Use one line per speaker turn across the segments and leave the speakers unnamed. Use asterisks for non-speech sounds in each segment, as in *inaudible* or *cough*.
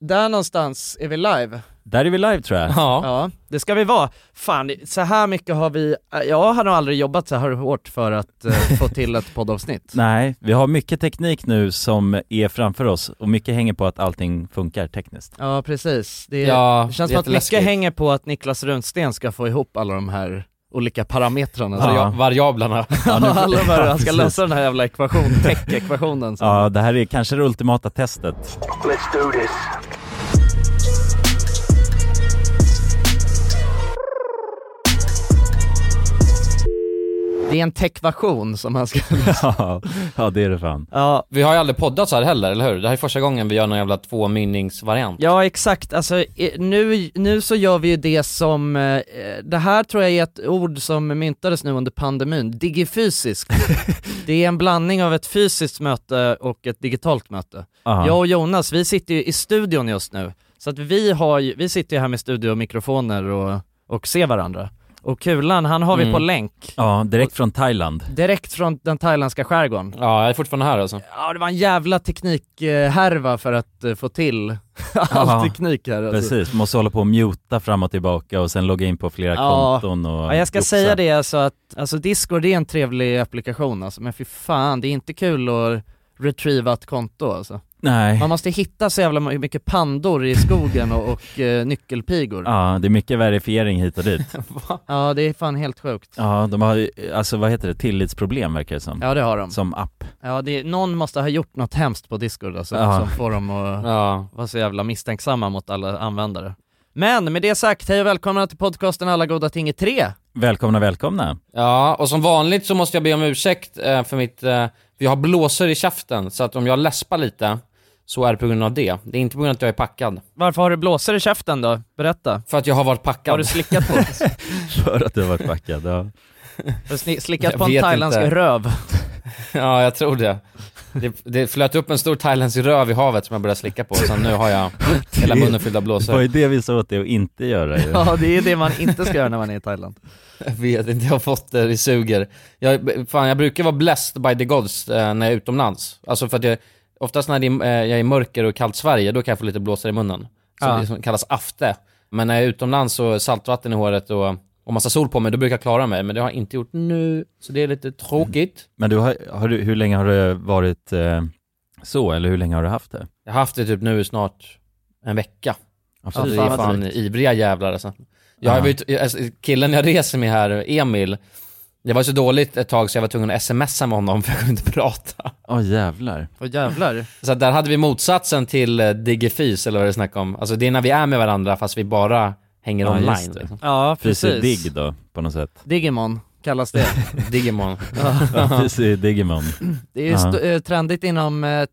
där någonstans är vi live.
Där är vi live tror jag.
Alltså. Ja.
Ja, det ska vi vara. Fan, så här mycket har vi, jag har nog aldrig jobbat så här hårt för att eh, få till ett poddavsnitt.
Nej, vi har mycket teknik nu som är framför oss och mycket hänger på att allting funkar tekniskt.
Ja, precis. Det,
Ja,
det känns som att mycket
jätteläskigt.
hänger på att Niklas Rundsten ska få ihop alla de här olika parametrarna.
Ja.
Varia- Variablerna. *laughs*
alla de här, han ska
precis.
lösa den här jävla ekvationen, tech-ekvationen. som-
Ja, det här är kanske det ultimata testet.
Let's do this.
Det är en techvation som han ska...
*laughs* Ja, ja det är det fan.
Ja,
Vi har ju aldrig poddat så här heller, eller hur? Det här är första gången vi gör någon jävla tvåmynningsvariant.
Ja exakt, alltså i- nu, nu så gör vi ju det som, eh, det här tror jag är ett ord som mysntades nu under pandemin,
*laughs*
digifysiskt. det är en blandning av ett fysiskt möte och ett digitalt möte.
Ja.
Jag och Jonas, vi sitter ju i studion just nu, så att vi, har, ju- vi sitter ju här med studiomikrofoner och, och ser varandra. Och Kulan, han har vi
Mm.
på länk,
Ja, direkt från Thailand.
direkt från den thailändska skärgården.
Ja, jag är fortfarande här *laughs* alltså.
Ja det var en jävla teknikhärva för att eh, få till *laughs* all
Ja,
teknik här alltså.
Precis, måste hålla på och muta fram och tillbaka och sen logga in på flera
Ja.
konton och
Ja, jag ska
joxa.
säga det alltså att, alltså Discord är en trevlig applikation alltså, men fy fan det är inte kul att retrieva ett konto alltså.
Nej.
Man måste hitta så jävla mycket pandor i skogen och, och eh, nyckelpigor. Ja.
Ja, det är mycket verifiering hit och dit.
det är fan helt sjukt.
*laughs* Ja, de har ju- alltså vad heter det, tillitsproblem verkar det som.
Ja det har de.
Som app.
Ja, det, någon måste ha gjort något hemskt på Discord alltså,
Ja.
som får dem att
Ja.
vara så jävla misstänksamma mot alla användare. Men med det sagt, hej och välkomna till podcasten Alla goda ting i tre.
Välkomna, välkomna.
Ja, och som vanligt så måste jag be om ursäkt eh, för mitt... Eh, jag har blåsor i käften, så att om jag läspar lite så är det på grund av det. Det är inte på grund av att jag är packad.
Varför har du blåsor i käften då? Berätta.
För att jag har varit packad.
Har du slickat på,
*laughs* För att du har varit packad, ja.
har du sni- slickat
Jag
på en
vet
thailändsk
inte.
röv?
*laughs* Ja, jag tror det. det. Det flöt upp en stor thailändsk röv i havet som jag började slicka på, så nu har *laughs* jag hela munnen fylld av
Det var
blåsor.
ju det vi sa åt dig att inte göra ju.
Ja det är det man inte ska göra när man är i Thailand.
Jag vet inte, jag har fått det, det suger. Jag, fan, jag brukar vara blessed by the gods eh, när jag är utomlands. Alltså för att jag, oftast när det är, eh, jag är i mörker och kallt Sverige, då kan jag få lite blåsor i munnen. Som,
Ja.
det som kallas afte. Men när jag är utomlands och saltvatten i håret och, och massa sol på mig, då brukar jag klara mig. Men det har jag inte gjort nu, så det är lite tråkigt.
Men du har, har du, hur länge har det varit eh, så, eller hur länge har du haft det?
Jag har haft det typ nu i snart en vecka. Så
Ja,
vi
fan
är
vad
fan ivriga jävlar alltså. Jag har
Ja.
varit, jag- alltså, killen jag reser med här, Emil, det var så dåligt ett tag så jag var tvungen att smsa med honom *laughs* för jag kunde inte prata.
Åh jävlar.
Åh jävlar.
Så att där hade vi motsatsen till eh, digifis eller vad det är snack om. Alltså det är när vi är med varandra fast vi bara hänger
Ja, just
online.
det.
Liksom.
Ja precis.
Digg då, på
*laughs*
något sätt.
Digimon kallas det.
Digimon.
*laughs* Ja, Fysi Digimon.
Det är ju st- eh, trendigt inom eh,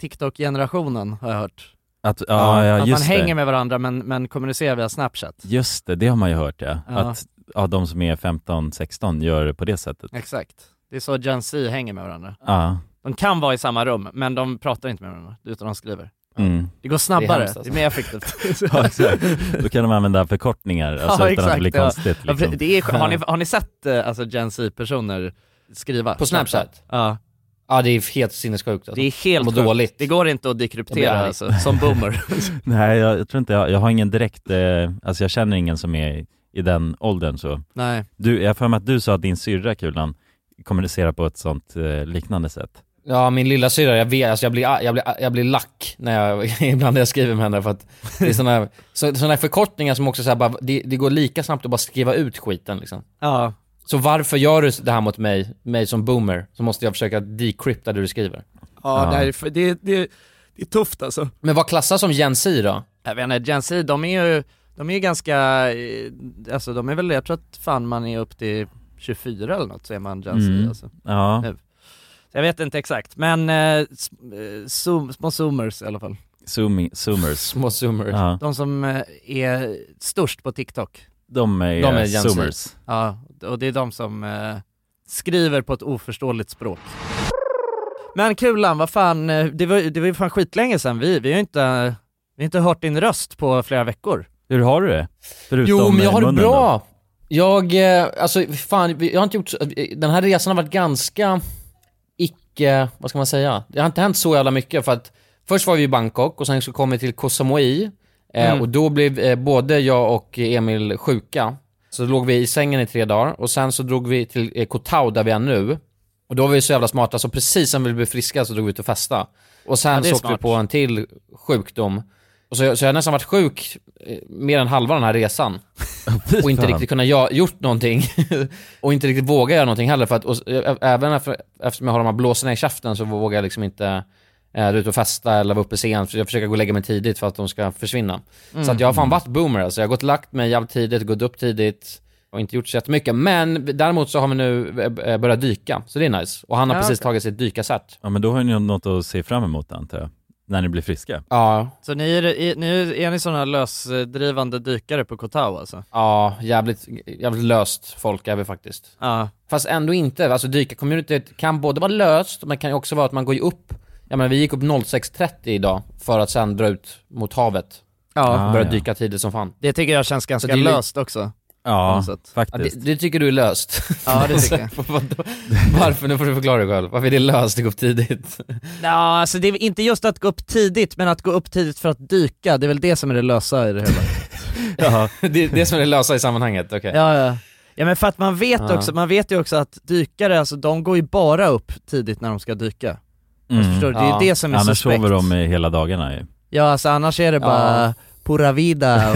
TikTok-generationen har jag hört.
Att, ja, ja,
att man
just
hänger
det.
med varandra men, men kommunicerar via Snapchat.
Just det, det har man ju hört ja.
Ja.
Att ja, de som är 15-16 gör det på det sättet.
Exakt. Det är så Gen Z hänger med varandra.
Ja.
De kan vara i samma rum men de pratar inte med varandra utan de skriver. *laughs*
Mm.
Det går snabbare, det är,
hemskt, alltså.
mer effektivt.
Ja, exakt. *laughs* Då kan de använda förkortningar, alltså
Ja,
utan att det
exakt,
blir
ja.
konstigt
Ja, för
liksom.
det är, har, ni, har ni sett eh, alltså, Gen Z-personer skriva?
På Snapchat?
Ja,
Ja det är helt sinnessjukt
det
alltså.
är helt
Vad
sjukt.
dåligt.
Det går inte att
Jag blir
dekryptera
arg.
alltså, som boomer.
Nej, jag, jag tror inte jag, jag har ingen direkt, eh, alltså jag känner ingen som är i, i den åldern så.
Nej.
Du, jag har för mig att du sa att din syrra Kulan kommunicerar på ett sånt eh, liknande sätt.
Ja min lilla syra, jag vet, alltså jag blir, jag blir, jag blir lack när jag, *laughs* ibland när jag skriver med henne för att det är sådana så, såna här förkortningar som också så här, bara, det, det går lika snabbt att bara skriva ut skiten liksom.
Ja,
Så varför gör du det här mot mig, mig som boomer? Så måste jag försöka decrypta det du skriver.
Ja. det här är
det, det, det är tufft alltså.
Men vad klassas som Gen Z då?
Jag vet inte, Gen Z, de är ju, de är ju ganska, eh, alltså de är väl, jag tror att fan man är upp till 24 eller något så är man Gen Z
Mm.
alltså.
Ja,
Nej. Jag vet inte exakt, men eh, s- eh, zoom, små zoomers i alla fall.
zoomi, zoomers.
Små zoomers.
Ja,
De som eh, är störst på TikTok.
de är,
De
eh,
är Gen Z.
zoomers.
Ja, och det är de som eh, skriver på ett oförståeligt språk. Men Kulan, vad fan, eh, det var, det var ju fan skitlänge sedan vi, vi har ju inte, vi har inte hört din röst på flera veckor.
Hur har du det? Förutom
Jo, men jag
eh,
har det
munnen
*laughs*
bra. Jag, eh, alltså fan, vi- jag har inte gjort så, eh, den här resan har varit ganska icke, vad ska man säga? Det har inte hänt så jävla mycket för att först var vi i Bangkok och sen så kom vi till Koh Samui Eh,
Mm.
Och då blev eh, både jag och Emil sjuka. Så låg vi i sängen i tre dagar och sen så drog vi till eh, Koh Tao där vi är nu. Och då var vi så jävla smarta så precis som vi blev friska så drog vi ut och festa. Och sen
Ja, det är
så åkte vi
smart.
på en till sjukdom. Och så, så jag har nästan varit sjuk eh, mer än halva den här resan
Fy
och inte
fan.
riktigt kunnat ja, gjort någonting. *laughs* och inte riktigt våga göra någonting heller. För att, och, s- ä- även efter, eftersom jag har de här blåsorna i käften så vågar jag liksom inte eh, ut och festa eller vara uppe sent. För jag försöker gå och lägga mig tidigt för att de ska försvinna. Så att jag har fan varit boomer alltså. Jag har gått och lagt mig jävligt tidigt, gått upp tidigt och inte gjort så jättemycket. Men däremot så har vi nu eh, börjat dyka, så det är nice. Och han har
Ja,
precis
okej.
tagit sitt dykarcert.
Ja men då har ni något att se fram emot antar jag, när ni blir friska.
Ja,
Så ni är, i- ni är, är ni sådana här lösdrivande dykare på Koh Tao alltså?
ja jävligt, jävligt löst folk är vi faktiskt.
Ja,
Fast ändå inte. Alltså dykarcommunityt kan både vara löst, men kan ju också vara att man går ju upp. Ja men vi gick upp 06.30 idag för att sen dra ut mot havet.
ja.
Ah,
Börja
ja.
dyka tidigt som fan.
det tycker jag känns
Så
ganska
det är li-
löst också på
Ja,
något sätt.
alltså, Ja,
faktiskt.
det, det tycker du är löst.
Ja
*laughs*
det tycker jag.
Vadå? Varför? Nu får du förklara dig själv. Varför är det löst att gå upp tidigt?
*laughs*
*laughs*
Ja, alltså det är inte just att gå upp tidigt, men att gå upp tidigt för att dyka, det är väl det som är det lösa i det *laughs* hela.
Ja,
Det är det som är det lösa i sammanhanget, okej.
ja, ja. ja men för att man vet
Ja.
också, man vet ju också att dykare, alltså de går ju bara upp tidigt när de ska dyka. Alltså,
mm.
förstår du? Det är
Ja.
ju det som är
Annars
suspekt.
sover de eh, hela dagarna ju.
Ja alltså annars är det
Ja.
bara pura vida och...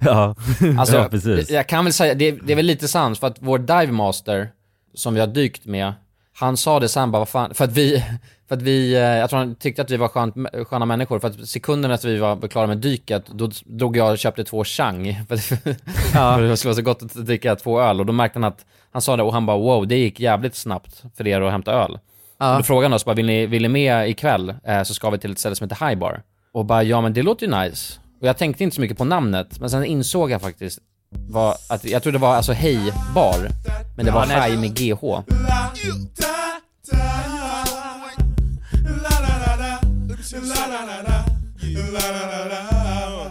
Ja,
*laughs* Alltså,
Ja, precis.
Jag kan väl säga, det, det är väl lite sant, för att vår divemaster som vi har dykt med, han sa det sen bara, vad fan, för att vi, *laughs* för att vi, eh, jag tror han tyckte att vi var skönt, sköna människor, för att sekunden efter vi var klara med dyket, då drog jag och köpte två chang, *laughs* för, att- *laughs* för det skulle vara så gott att dricka två öl, och då märkte han att, han sa det och han bara wow, det gick jävligt snabbt för er att hämta öl.
Ja.
Då frågade han oss bara, vill ni, vill ni med ikväll? Eh, så ska vi till ett ställe som heter High Bar. Och bara, ja men det låter ju nice. Och jag tänkte inte så mycket på namnet, men sen insåg jag faktiskt var att, jag tror det var alltså Hej Bar, men det var
nej.
High med GH.
Aha,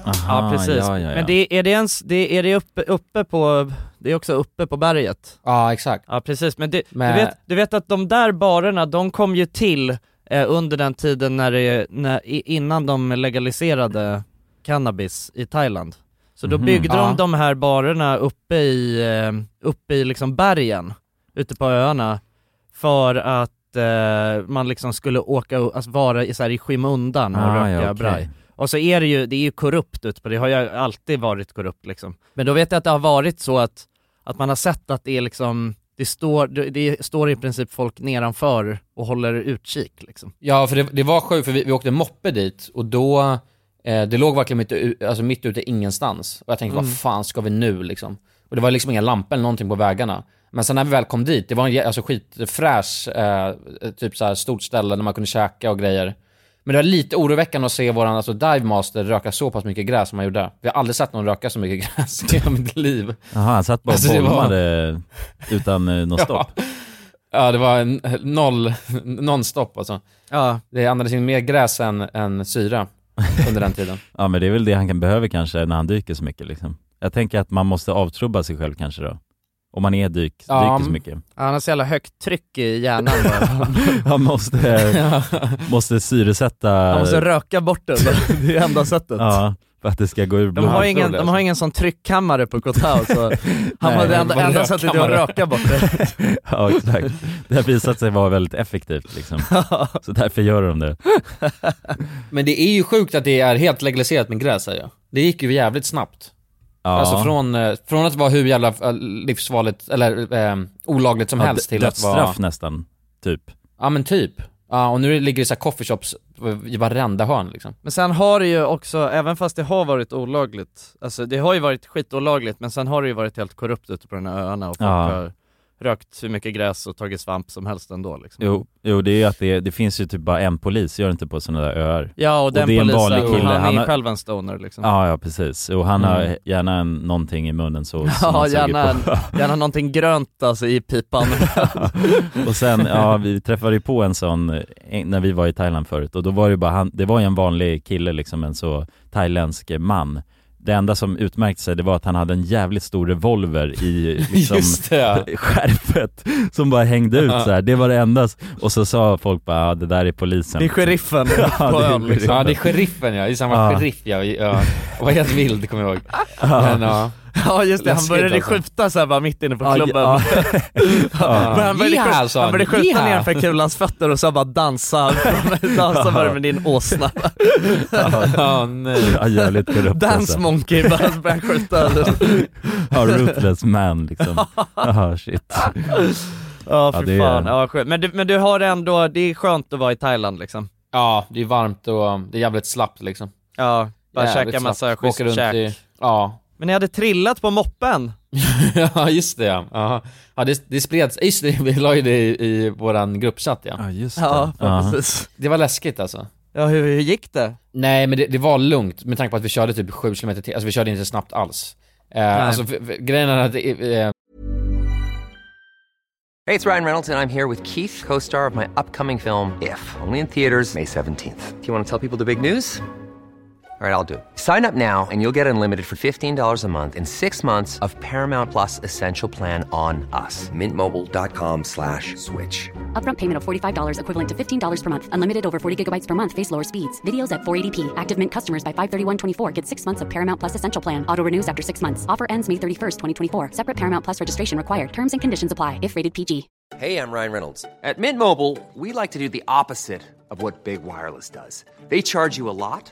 Ah, Ja precis.
Ja, ja, ja.
Men det, är det ens, det, är det uppe, uppe på, det är också uppe på berget?
Ja, exakt.
Ja precis, men, det,
Men-
Du, vet, du vet att de där barerna, de kom ju till eh, under den tiden när det, när, i- innan de legaliserade cannabis i Thailand. Så då
Mhm.
byggde
Ja.
de de här barerna uppe i, eh, uppe i liksom bergen, ute på öarna, för att eh, man liksom skulle åka, och- alltså vara i, så här, i skymundan och
Ah,
röka
ja, okej.
braj. Och så är det ju, det är ju korrupt ute på det, har ju alltid varit korrupt liksom. Men då vet jag att det har varit så att, att man har sett att det är liksom, det står, det, det står i princip folk nedanför och håller utkik liksom.
Ja, för det, det var sjukt, för vi, vi åkte moppe dit och då, eh, det låg verkligen mitt, u- alltså mitt ute ingenstans. Och jag tänkte, vad fan ska vi nu liksom? Och det var liksom inga lampor eller någonting på vägarna. Men sen när vi väl kom dit, det var en jä- alltså, skitfräsch, eh, typ så här stort ställe där man kunde käka och grejer. Men det var lite oroväckande att se våran alltså, divemaster röka så pass mycket gräs som han gjorde. Vi har aldrig sett någon röka så mycket *laughs* gräs i hela mitt liv.
Aha, han satt bara och
Alltså, det var-
bolmade utan eh, något stopp.
Ja, det var en, noll, *laughs* nonstop alltså.
Ja,
Det andades in mer gräs än, än syra under den tiden.
Ja men det är väl det han kan behöva kanske när han dyker så mycket liksom. Jag tänker att man måste avtrubba sig själv kanske då. Om man är dyk,
Ja,
dyker så
men-
mycket. *laughs*
han har så jävla högt tryck i hjärnan *laughs* bara.
*laughs*
Han måste, måste syresätta...
Han måste röka bort det, det är enda sättet.
ja, för att det ska gå ur
De har,
blodet.
ingen, de har ingen sån tryckkammare på Kotau *laughs* så han var det enda,
bara
enda sättet är att
rökkammare.
röka bort *laughs* det.
Ja exakt. Det har visat sig vara väldigt effektivt liksom. Så därför gör de det.
Men det är ju sjukt att det är helt legaliserat med gräs säger jag. Det gick ju jävligt snabbt.
Ja.
Alltså från, eh, från att vara hur jävla eh, livsfarligt, eller eh, olagligt som
Ja,
helst till att vara...
Dödsstraff nästan, typ.
Ja men typ. Ja och nu ligger det så här coffeeshops i varenda hörn
*laughs*
liksom.
Men sen har det ju också, även fast det har varit olagligt, alltså det har ju varit skitolagligt men sen har det ju varit helt korrupt ute på de här öarna och folk
Ja.
har rökt hur mycket gräs och tagit svamp som helst ändå liksom.
Jo, jo det är ju att det, det finns ju typ bara en polis, gör det inte på sådana där öar?
Ja och den
det är en
polisen,
vanlig
han,
kille,
är
han
ju
har-
själv en stoner liksom.
Ja, ja precis. Och han har
Mm.
gärna en, någonting i munnen så, som
*laughs* Ja,
han suger
gärna,
på.
gärna någonting grönt alltså i pipan.
Och sen, ja vi träffade ju på en sån eh, en- när vi var i Thailand förut och då var det ju bara han, det var ju en vanlig kille liksom, en så thailändsk man
Det enda som utmärkte sig det var att han hade en jävligt stor revolver i liksom,
Just det.
skärpet som bara hängde ut så här. det var det enda. Och så sa folk bara, ja, det där är polisen.
Det är sheriffen på
Ja, det är
ön *laughs* liksom.
Ja, det är sheriffen ja. Det är samma
Ja.
sheriff ja. ja. Jag var helt vild kommer jag ihåg. Men, ja.
Ja just det, han
Läskigt,
började
alltså.
skjuta såhär bara mitt inne på
Ja,
*laughs*
klubben.
ja.
Men han började,
Yeehaw,
skjuta,
sa han.
han började skjuta
Yeehaw.
nedanför kulans fötter och så
*laughs*
bara dansa, dansa bara med din åsna.
Ja, nej.
Ja, jävligt korrupt
Dance
alltså.
monkey, bara började skjuta.
*laughs* Ja, ruthless man liksom. Ja, shit.
Ja
Ja,
för
det är-
fan, ja, skönt. men, du, men du har ändå, det är skönt att vara i Thailand liksom.
ja, det är varmt och det är jävligt slappt liksom.
Ja, bara
Jävligt
käka massa
slappt. Åker
schysst
runt
käk.
i- Ja.
Men ni hade trillat på moppen.
*laughs* ja, just det ja. ja. Ja, det, det spreds. Just det, vi la ju det i, i våran gruppchatt ja.
Ja, just det.
Ja,
Ja.
precis.
Det var läskigt alltså.
Ja hur, hur gick det?
Nej men det, det var lugnt med tanke på att vi körde typ 7 km till, alltså vi körde inte snabbt alls. Eh, alltså för, för, grejen är att det, eh,
Hey, it's Ryan Reynolds, and I'm here with Keith, co star of my upcoming film, If, only in theaters, May 17th. Do you want to tell people the big news? All right, I'll do. it. Sign up now and you'll get unlimited for $15 a month in six months of Paramount Plus Essential Plan on us. Mintmobile.com slash switch.
Upfront payment of $45 equivalent to $15 per month. Unlimited over 40 gigabytes per month. Face lower speeds. Videos at 480p. Active Mint customers by 531.24 get six months of Paramount Plus Essential Plan. Auto renews after six months. Offer ends May 31st, 2024. Separate Paramount Plus registration required. Terms and conditions apply if rated PG.
Hey, I'm Ryan Reynolds. At Mint Mobile, we like to do the opposite of what Big Wireless does. They charge you a lot,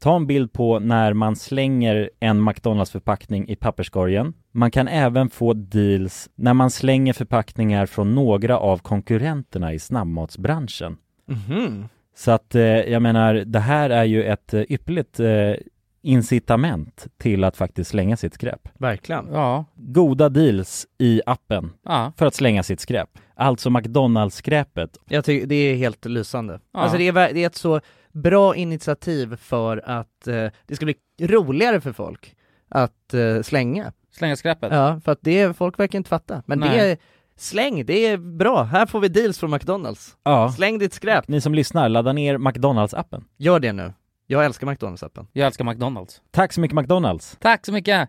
ta en bild på när man slänger en McDonalds-förpackning i papperskorgen. Man kan även få deals när man slänger förpackningar från några av konkurrenterna i snabbmatsbranschen.
Mhm.
Så att eh, jag menar, det här är ju ett eh, ypperligt eh, incitament till att faktiskt slänga sitt skräp.
Verkligen.
Ja,
Goda deals i appen
ja.
för att slänga sitt skräp. Alltså McDonalds-skräpet.
Jag tycker det är helt lysande.
Ja.
Alltså det är, ver- det är ett så bra initiativ för att eh, det ska bli roligare för folk att eh, slänga.
Slänga skräpet.
Ja, för att det, folk verkar inte fatta. Men det
Nej.
är, släng, det är bra. Här får vi deals från McDonalds.
Ja.
Släng ditt skräp.
Ni som lyssnar, ladda ner McDonalds-appen.
Gör det nu. Jag älskar McDonalds-appen.
Jag älskar McDonalds.
Tack så mycket McDonalds!
Tack så mycket!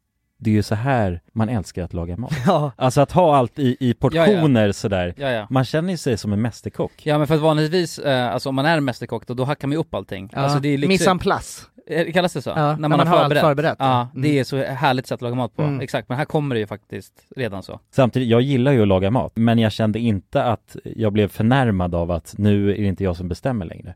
det är ju så här man älskar att laga mat.
Ja.
Alltså att ha allt i, i portioner sådär.
Ja, ja.
Man känner ju sig som en mästerkock.
Ja men för att vanligtvis, eh, alltså om man är mästerkock då, då hackar man ju upp allting.
Ja.
Alltså det är
Mise
liksom,
en place.
Eh, kallas det så?
Ja, när man har allt förberett,
Ja,
ja.
det
Mm.
är så härligt sätt att laga mat på.
Mm.
Exakt, men här kommer det ju faktiskt redan så.
Samtidigt, jag gillar ju att laga mat, men jag kände inte att jag blev förnärmad av att nu är det inte jag som bestämmer längre.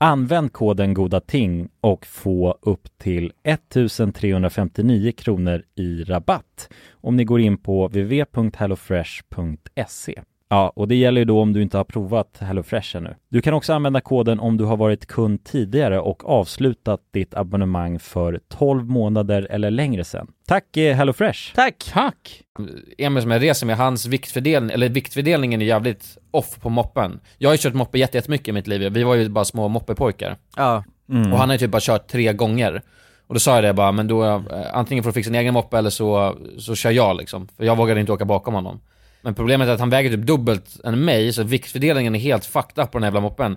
Använd koden goda ting och få upp till 1359 kronor i rabatt om ni går in på www.hellofresh.se. Ja, och det gäller ju då om du inte har provat HelloFresh ännu. Du kan också använda koden om du har varit kund tidigare och avslutat ditt abonnemang för 12 månader eller längre sedan. Tack eh, HelloFresh!
Tack!
Tack!
Emil som jag reser med, hans viktfördelning, eller viktfördelningen är jävligt off på moppen. Jag har ju kört moppe jätte- jättemycket i mitt liv, vi var ju bara små moppepojkar.
Ja.
Mm.
Och han har ju typ bara kört tre gånger. Och då sa jag det bara, men då, eh, antingen får du fixa en egen moppe eller så, så kör jag liksom. För jag vågade inte åka bakom honom. Men problemet är att han väger typ dubbelt än mig, så viktfördelningen är helt fucked up på den här
*laughs*
jävla moppen.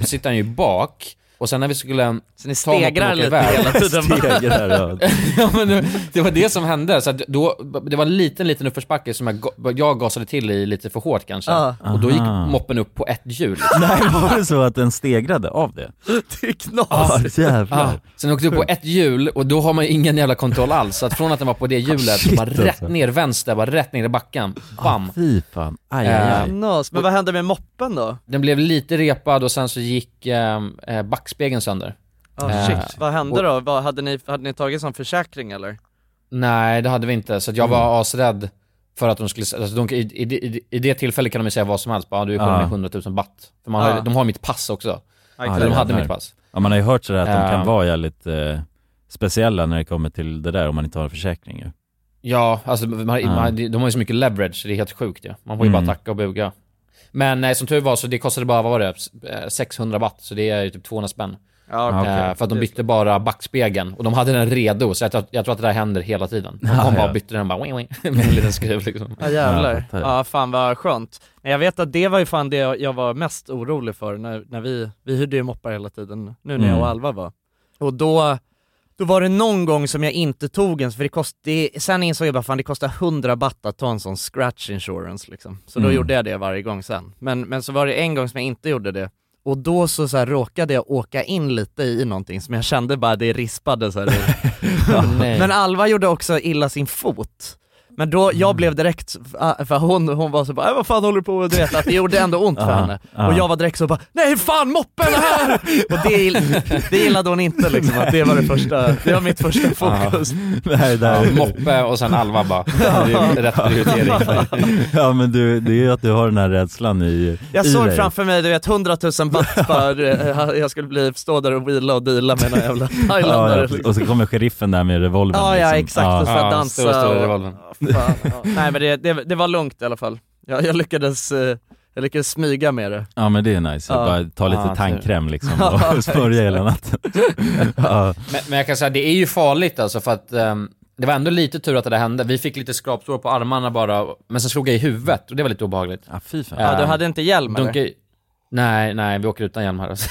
Och sitter han ju bak. Och sen när vi skulle
Så ni
ta moppen och
stegrar
åka
lite
iväg-
hela tiden. va?
Steg där, ja.
ja, men det, *laughs* det var det som hände. Så att då, det var en liten, liten uppförsbacke som jag, ga- jag gasade till i lite för hårt kanske.
Ja.
Och då gick
Aha.
moppen upp på ett hjul.
Nej, var det så att den stegrade av det?
Det är knas!
Ja, jävlar.
Sen åkte du på ett hjul och då har man ju ingen jävla kontroll alls. Så att från att den var på det hjulet,
Ah, Shit,
bara rätt
alltså.
ner vänster, bara rätt ner i backen. Bam!
Fy fan, aj,
aj,
aj,
aj.
aj.
Knas. Men vad hände med moppen då?
Den blev lite repad och sen så gick eh, eh, backspegeln sönder.
Oh,
Eh,
shit. Vad hände då? Vad, hade, ni, hade ni tagit som försäkring eller?
Nej, det hade vi inte. Så att jag
Mm.
var asrädd för att de skulle... Alltså de, i, i, i, I det tillfället kan de ju säga vad som helst. Bara, "Ah, du är skyldig
Ja.
med 100 000 baht. För man har,
Ja.
de har mitt pass också.
Ah. Ja,
Eller de
det
hade
menar
mitt
jag.
pass.
Ja, man har ju hört sådär att de
Ja.
kan vara jävligt eh, speciella när det kommer till det där om man inte har en försäkring ju.
Ja, alltså man, har-
Ja.
man, de har ju så mycket leverage, det är helt sjukt ju. Man får ju
Mm.
bara tacka och buga. Men nej, som tur var så det kostade bara, vad var det, Eh, 600 watt, så det är ju typ 200 spänn.
Ja,
Ah, okej.
Eh,
*laughs*
för att de bytte bara backspegeln, och de hade den redo, så jag, tror- jag tror att det där händer hela tiden. De
*laughs*
kom
Ja,
bara
ja.
och bytte den bara, wing, *laughs* wing, med en liten
*laughs*
skruv liksom.
Ja jävlar.
jag fattar.
Ja fan vad skönt. Men jag vet att det var ju fan det jag jag var mest orolig för när, när vi, vi hyrde ju moppar hela tiden, nu när jag
Mm.
och Alva var. Och då, då var det någon gång som jag inte tog en, för det kostade, sen insåg jag bara fan det kostar 100 baht att ta en sån scratch insurance liksom. Så då
Mm.
gjorde jag det varje gång sen. Men, men så var det en gång som jag inte gjorde det. Och då så, så här, råkade jag åka in lite i någonting som jag kände bara det rispade så här.
nej.
Men Alva gjorde också illa sin fot. Men då,
Mm.
jag blev direkt, f- för hon, hon var så bara "Äh, vad fan håller du på med? Du vet att det gjorde ändå ont
*laughs*
för
Aha,
henne.
aha.
Och jag var direkt så bara, nej fan moppen är här!
*laughs*
Och det, gill, det gillade hon inte liksom, att det var det första, det var mitt
*laughs*
första fokus.
Det här är
Ja,
där.
moppe och sen Alva bara.
*laughs*
Det är ju rätt prioritering.
*laughs* Ja men du, det är ju att du har den här rädslan i,
Jag
i
såg
dig.
framför mig du vet 100 000
*laughs*
baht bara, eh, jag skulle bli, stå där och vila och deala med några jävla
*laughs* ja,
thailändare.
ja,
liksom.
och så kommer sheriffen där med revolvern
Ja, ja
liksom.
exakt, och så
Ja,
här dansa
stora, stora
och-
revolvern.
Ja, liksom. fan, ja. Nej men det, det, det var lugnt i alla fall. Jag, jag, lyckades, eh, jag lyckades smyga med det.
Ja men det är nice,
Ja.
bara ta lite
Ja, ser.
tandkräm liksom
Ja,
och *laughs* smörja hela natten. ja.
Men, men jag kan säga, det är ju farligt alltså för att ehm, det var ändå lite tur att det där hände. Vi fick lite skrapsår på armarna bara, men sen slog jag i huvudet och det var lite obehagligt.
ja fy fan.
Ja, du
Ehm,
hade inte hjälm eller?
Dunka i... Nej, nej, vi åker utan hjälm här. Alltså.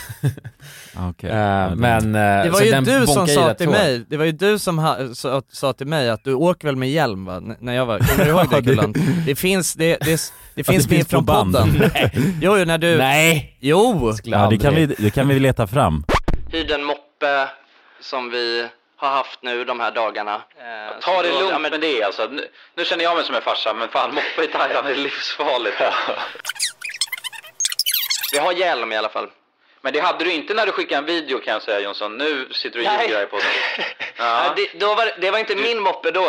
Ja,
*laughs*
okej.
Eh,
Ja, det-
men... eh,
Det var
så
ju
den
du som
bonkade i
sa
rätt
till
hårt.
mig, det var ju du som ha, sa, sa till mig att du åker väl med hjälm va? N- när jag var, kommer du ihåg det Gullan? Det finns, det, det, det, finns
finns
med
på
från
band.
podden. Jo, jo, när du,
Nej!
jo!
skulle
Ja, det
aldrig.
kan, vi, det kan vi leta fram.
Hyr den moppe som vi har haft nu de här dagarna. Eh,
Ta det
så då-
lugnt med det alltså. Nu, nu känner jag mig som en farsa, men fan moppa i Thailand är livsfarligt.
Vi har hjälm i alla fall.
men det hade du inte när du skickade en video kan jag säga Jonsson. Nu sitter du och
Nej. *laughs*
ljuger här på podden.
Nej, det, då var, det var inte min moppe då.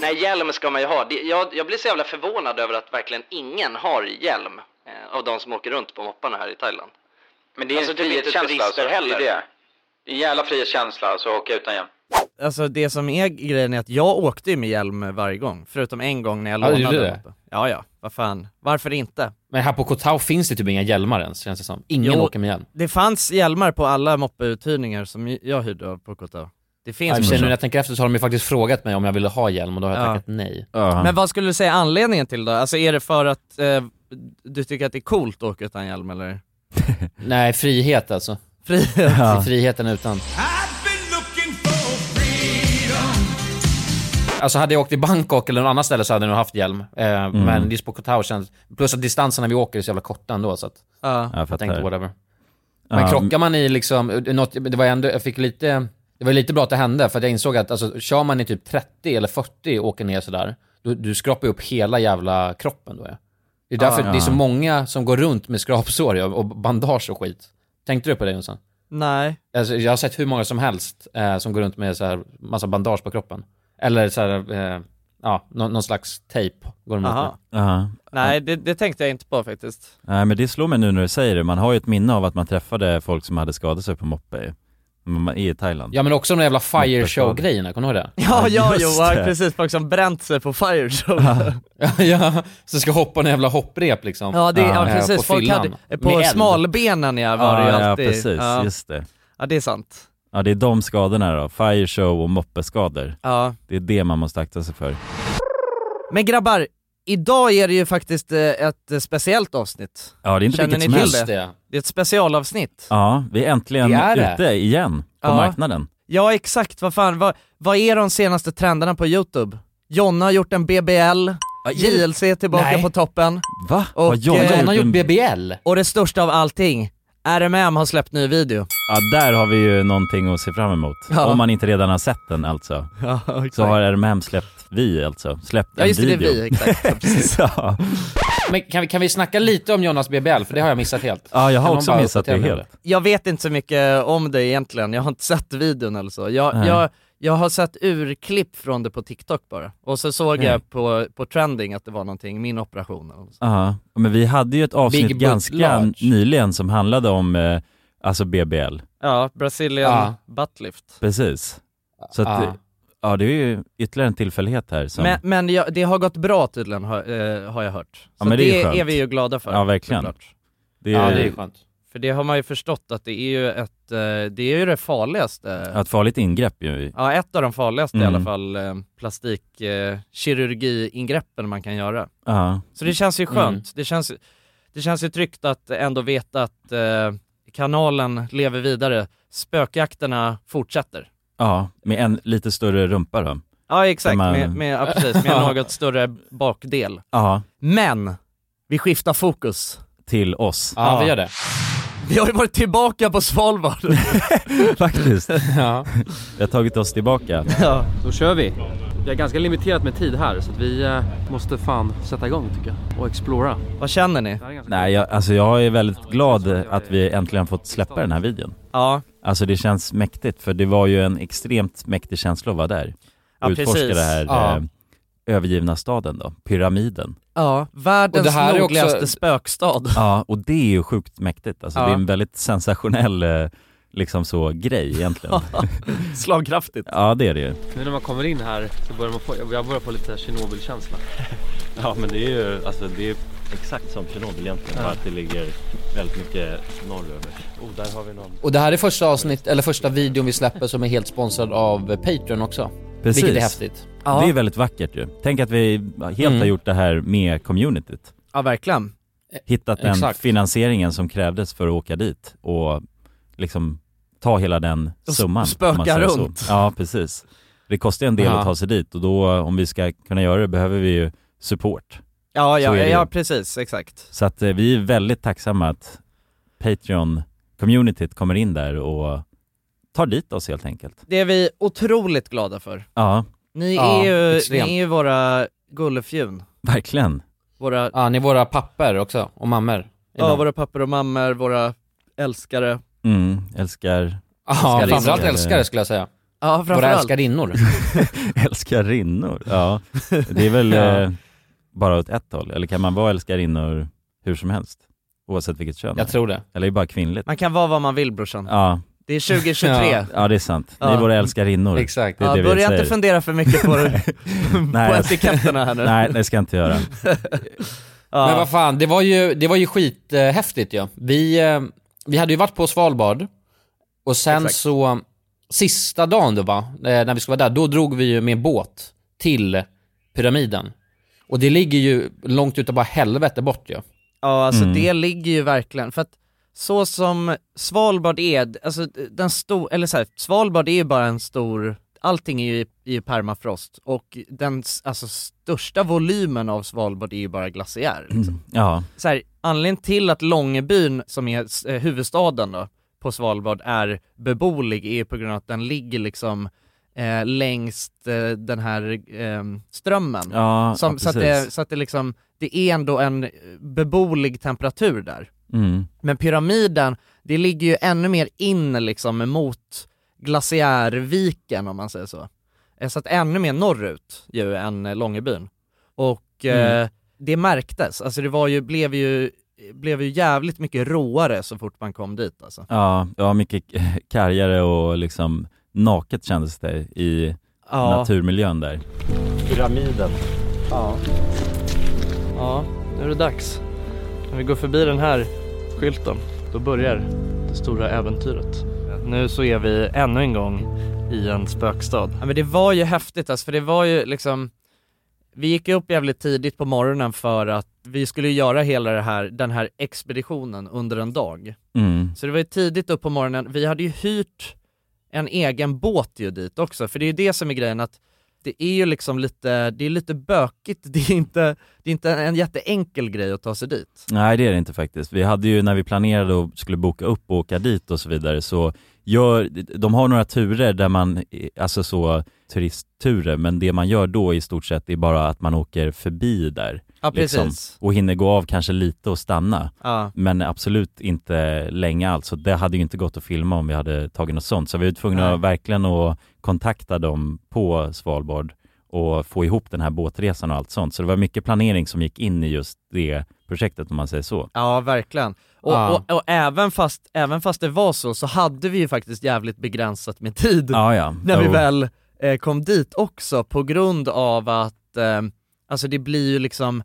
Nej, hjälm ska man ju ha. Det, jag, jag blir så jävla förvånad över att verkligen ingen har hjälm eh, av de som åker runt på mopparna här i Thailand.
Men det är
Alltså,
en
typ inte
frihetskänsla
turister
alltså.
heller.
Det är det. Det är en jävla frihetskänsla alltså, att åka utan hjälm.
Alltså det som är grejen är att jag åkte ju med hjälm varje gång, förutom en gång när jag
Ja, du
lånade
gjorde
den. Ja, ja, vad fan, varför inte?
Men här på Koh Tao finns det typ inga hjälmar ens, känns det som. Ingen
Jo.
åker med hjälm.
Det fanns hjälmar på alla moppeuthyrningar som jag hyrde av på Koh Tao. Det
Ja,
finns
i och för sig,
Mm.
nu
förstås.
när jag tänker efter så har de ju faktiskt frågat mig om jag ville ha hjälm och då har jag
Ja.
tackat nej.
Ja.
Men vad skulle du säga anledningen till då? Alltså är det för att eh, du tycker att det är coolt att åka utan hjälm eller? *laughs*
Nej, frihet alltså.
Frihet?
Det är Friheten utan. Alltså hade jag åkt i Bangkok eller någon annan ställe så hade jag nog haft hjälm. Eh, Men just på Koh Tao känns... Plus att distanserna vi åker är så jävla korta ändå så att...
Ja.
jag
Jag tänkte
fattar.
whatever. Men krockar man i liksom, något, det var ändå, jag fick lite, det var lite bra att det hände för att jag insåg att alltså, kör man i typ 30 eller 40 och åker ner sådär, du, du skrapar ju upp hela jävla kroppen då ja. Det är därför det är så många som går runt med skrapsår ja, och bandage och skit. Tänkte du på det Jonsson?
Nej.
Alltså, jag har sett hur många som helst eh, som går runt med så här massa bandage på kroppen. Eller så här, eh, ja, någon, någon slags tejp går de runt med.
Aha.
Ja.
Nej, det, det tänkte jag inte på faktiskt.
Nej men det slår mig nu när du säger det, man har ju ett minne av att man träffade folk som hade skadat sig på moppe i, i Thailand.
Ja men också de jävla fire show-grejerna, kommer du ihåg det?
*laughs* Ja, ja,
just
Johan,
det.
precis. Folk som bränt sig på fire show.
*laughs* ja, *laughs* så ska hoppa en jävla hopprep liksom.
Ja, det, ja,
Eh,
precis.
på
folk
fyllan.
hade, eh,
Med
på
eld.
smalbenen ja, var det ju
ja, ja
alltid.
precis,
ja.
just det.
ja, det är sant.
Ja det är de skadorna då, fire show och moppeskador.
Ja.
Det är det man måste akta sig för.
Men grabbar, idag är det ju faktiskt eh, ett eh, speciellt avsnitt.
Ja det är inte
Känner
vilket
ni
som
till
helst.
det?
Just det.
Det är ett specialavsnitt.
Ja, vi är äntligen
Det är det.
ute igen på
Ja.
marknaden.
Ja exakt, vad fan, vad, vad är de senaste trenderna på Youtube? Jonna har gjort en BBL, JLC är tillbaka
Nej.
på toppen,
Va?
Och,
Har Jonna
eh,
Jonna har
gjort en-
gjort BBL.
och det största av allting, RMM har släppt ny video.
Ja där har vi ju någonting att se fram emot.
Ja.
Om man inte redan har sett den alltså.
Ja, exakt.
Så har RMM släppt, vi alltså, släppt
ja
en
just det, det är
video.
vi, exakt. Ja, precis.
*laughs* ja.
Men kan vi, kan vi snacka lite om Jonas BBL? För det har jag missat helt.
ja, jag
Kan
har
någon
också
bara
missat det
uppdatera mig
helt.
jag vet inte så mycket om det egentligen, jag har inte sett videon eller så. Jag,
Nej.
jag, jag har sett urklipp från det på TikTop bara, och så såg
Nej.
jag på, på trending att det var någonting, min operation eller så.
Ja, men vi hade ju ett avsnitt
Big Butt
ganska
Large.
nyligen som handlade om eh, alltså BBL,
Ja, Brazilian
Ja.
buttlift.
precis. Så att,
Ja.
ja. ja det är ju ytterligare en tillfällighet här som,
Men, men jag, det har gått bra tydligen har, eh, har jag hört. Så
Ja, men det är
det
skönt.
är, vi ju glada för.
Ja, verkligen.
såklart.
det
Ja,
är,
det är skönt.
För det har man ju förstått att det är ju ett, eh, det är ju det farligaste.
ett farligt ingrepp ju.
Ja, ett av de farligaste i
Mm.
alla fall eh, plastikkirurgiingreppen man kan göra.
Ja,
Så det känns ju skönt.
Mm.
Det, känns, det känns ju tryggt att ändå veta att eh, kanalen lever vidare. Spökjakterna fortsätter.
ja, med en lite större rumpa då.
Ja exakt,
Man-
med, med, ja, precis, med en *laughs* något större bakdel.
Ja,
Men, vi skiftar fokus.
till oss.
Ja, vi gör det.
Vi har ju varit tillbaka på Svalbard.
*laughs* Faktiskt.
*laughs* Ja.
Vi har tagit oss tillbaka.
ja.
Då kör vi. Vi har ganska limiterat med tid här så att vi eh, måste fan sätta igång tycker jag och explora.
*laughs* Vad känner ni?
Det här är ganska
Nej, jag, alltså jag är väldigt glad att vi äntligen fått släppa den här videon.
Ja,
Alltså det känns mäktigt, för det var ju en extremt mäktig känsla att vara där.
Ja,
Och utforska
precis.
det här
Ja.
eh, övergivna staden då, pyramiden.
ja. världens
Och det här är också- *laughs*
nordligaste spökstad.
Ja, och det är ju sjukt mäktigt. Alltså
Ja.
det är en väldigt sensationell eh, liksom så grej
*laughs*
egentligen.
Slagkraftigt.
ja, det är det ju.
Nu när man kommer in här så börjar man få, jag börjar få lite Tjernobyl-känsla.
*laughs* Ja men det är ju alltså, det är exakt som Tjernobyl egentligen bara att det ligger väldigt mycket norröver. Oh, där har vi någon.
Och det här är första avsnitt, eller första videon vi släpper som är helt sponsrad av Patreon också.
Precis.
Vilket är häftigt.
Ja,
Det är väldigt vackert ju. Tänk att vi helt har
Mm.
gjort det här med communityt.
ja verkligen.
Hittat den
Exakt.
finansieringen som krävdes för att åka dit och liksom ta hela den
Och s-
summan. om
spöka
man säger så.
runt.
Ja, precis. Det kostar en del
Ja.
att ta sig dit och då om vi ska kunna göra det behöver vi ju support.
Ja,
Så
ja,
är det ju.
ja precis, exakt.
Så att eh, vi är väldigt tacksamma att Patreon-communityt kommer in där och tar dit oss helt enkelt.
Det är vi otroligt glada för.
Ja,
Ni,
Ja,
är, ju, ni
extremt.
är ju våra gullefjun.
verkligen.
Våra,
Ja, ni är våra papper också, och mammor.
ja,
Ibland.
våra pappor och mammor, våra älskare.
Mm, älskar,
ja framförallt
älskarinnor.
älskare skulle jag säga.
Ja
Våra
framförallt.
älskarinnor.
älskarinnor. Ja, det är väl
Ja.
eh, bara åt ett håll, eller kan man vara älskarinnor hur som helst? Oavsett vilket kön?
Jag tror det.
Eller är det bara kvinnligt?
Man kan vara vad man vill brorsan.
Ja,
Det är 2023.
Ja.
ja.
ja det är sant. Ni
Ja.
är våra älskarinnor.
Exakt.
Det är det vi
börja
säger.
inte fundera för mycket på, på
Nej,
etiketterna här nu.
*laughs* nej, det ska jag
*laughs*
inte göra. Mm.
Ja.
Men vad fan, det var ju, det var ju skithäftigt ju. Vi, eh, vi hade ju varit på Svalbard och sen
Exakt.
så, sista dagen då va, eh, när vi skulle vara där, då drog vi ju med båt till pyramiden. Och det ligger ju långt utav bara helvete bort ju.
Ja, alltså
Mm.
det ligger ju verkligen, för att så som Svalbard är, alltså den stor, eller så här, Svalbard är ju bara en stor, allting är ju, är ju permafrost och den s- alltså, största volymen av Svalbard är ju bara glaciär. Liksom.
Ja,
Så här, anledningen till att Långebyn, som är s- eh, huvudstaden då, på Svalbard är beboelig är ju på grund av att den ligger liksom eh, längs eh, den här eh, strömmen.
ja,
Som,
ja
så, att det,
precis.
så att det liksom, det är ändå en eh, beboelig temperatur där.
Mm.
Men pyramiden, det ligger ju ännu mer in liksom mot glaciärviken om man säger så. Eh, Så att ännu mer norrut ju än eh, Långebyn. Och eh, det märktes, alltså det var ju, blev ju, blev ju jävligt mycket råare så fort man kom dit alltså.
Ja, ja mycket k- *laughs* kargare och liksom naket kändes det i
Ja,
naturmiljön där.
Pyramiden.
ja, nu är det dags. När vi går förbi den här skylten, då börjar det stora äventyret. Nu så är vi ännu en gång i en spökstad. Ja, men det var ju häftigt alltså, för det var ju liksom Vi gick ju upp jävligt tidigt på morgonen för att vi skulle ju göra hela det här, den här expeditionen under en dag.
Mm.
Så det var ju tidigt upp på morgonen, vi hade ju hyrt en egen båt ju dit också, för det är ju det som är grejen att det är ju liksom lite, det är lite bökigt, *laughs* det är inte, det är inte en jätteenkel grej att ta sig dit.
Nej det är det inte faktiskt. Vi hade ju när vi planerade och skulle boka upp och åka dit och så vidare så gör, de har några turer där man, eh, alltså så turistturer, men det man gör då i stort sett är bara att man åker förbi där
Ja
Liksom. och hinner gå av kanske lite och stanna.
Ja.
Men absolut inte länge alls, så det hade ju inte gått att filma om vi hade tagit något sånt. Så vi var tvungna
Nej.
att verkligen att kontakta dem på Svalbard och få ihop den här båtresan och allt sånt. Så det var mycket planering som gick in i just det projektet om man säger så.
Ja, verkligen. Och,
Ja.
och, och även, fast, även fast det var så, så hade vi ju faktiskt jävligt begränsat med tid
Ja, ja.
när vi
Jo.
väl eh, kom dit också på grund av att, eh, alltså det blir ju liksom,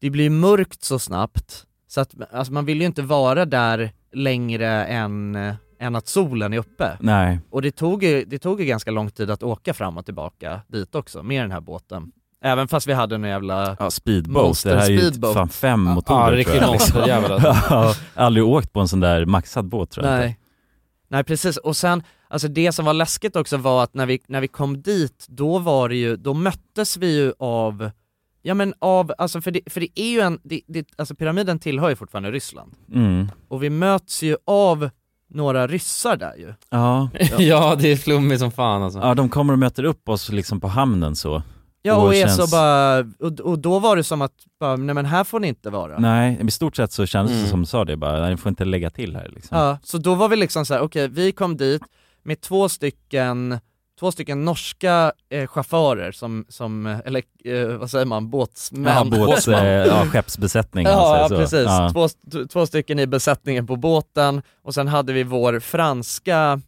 det blir ju mörkt så snabbt så att alltså man vill ju inte vara där längre än, eh, än att solen är uppe.
Nej,
Och det tog, ju, det tog ju ganska lång tid att åka fram och tillbaka dit också med den här båten. Även fast vi hade en jävla
ja, speedboat.
Monster
det här är ju
speedboat.
fan fem
Ja,
motorer tror
riktigt
jag.
monsterjävel alltså.
*laughs* Ja, aldrig åkt på en sån där maxad båt tror jag inte.
Nej. Nej precis, och sen, alltså det som var läskigt också var att när vi, när vi kom dit, då var det ju, då möttes vi ju av Ja men av, alltså för det, för det är ju en, det, det, alltså pyramiden tillhör ju fortfarande Ryssland.
Mm.
Och vi möts ju av några ryssar där ju.
Ja.
*laughs* ja, det är flummigt som fan alltså.
Ja, de kommer och möter upp oss liksom på hamnen så.
Ja och, är
känns-
så bara, och, och då var det som att, bara, nej men här får ni inte vara.
Nej, i stort sett så kändes det
Mm.
som du sa det bara, nej, ni får inte lägga till här liksom.
Ja, så då var vi liksom så här: okej vi kom dit med två stycken, två stycken norska eh, chaufförer som, som, eh, eller eh, vad säger man, båtsmän?
Ja, båt, eh, ja, skeppsbesättning om
*laughs*
man
Ja, ja
säger så.
precis.
Ja.
Två, st- två stycken i besättningen på båten och sen hade vi vår franska,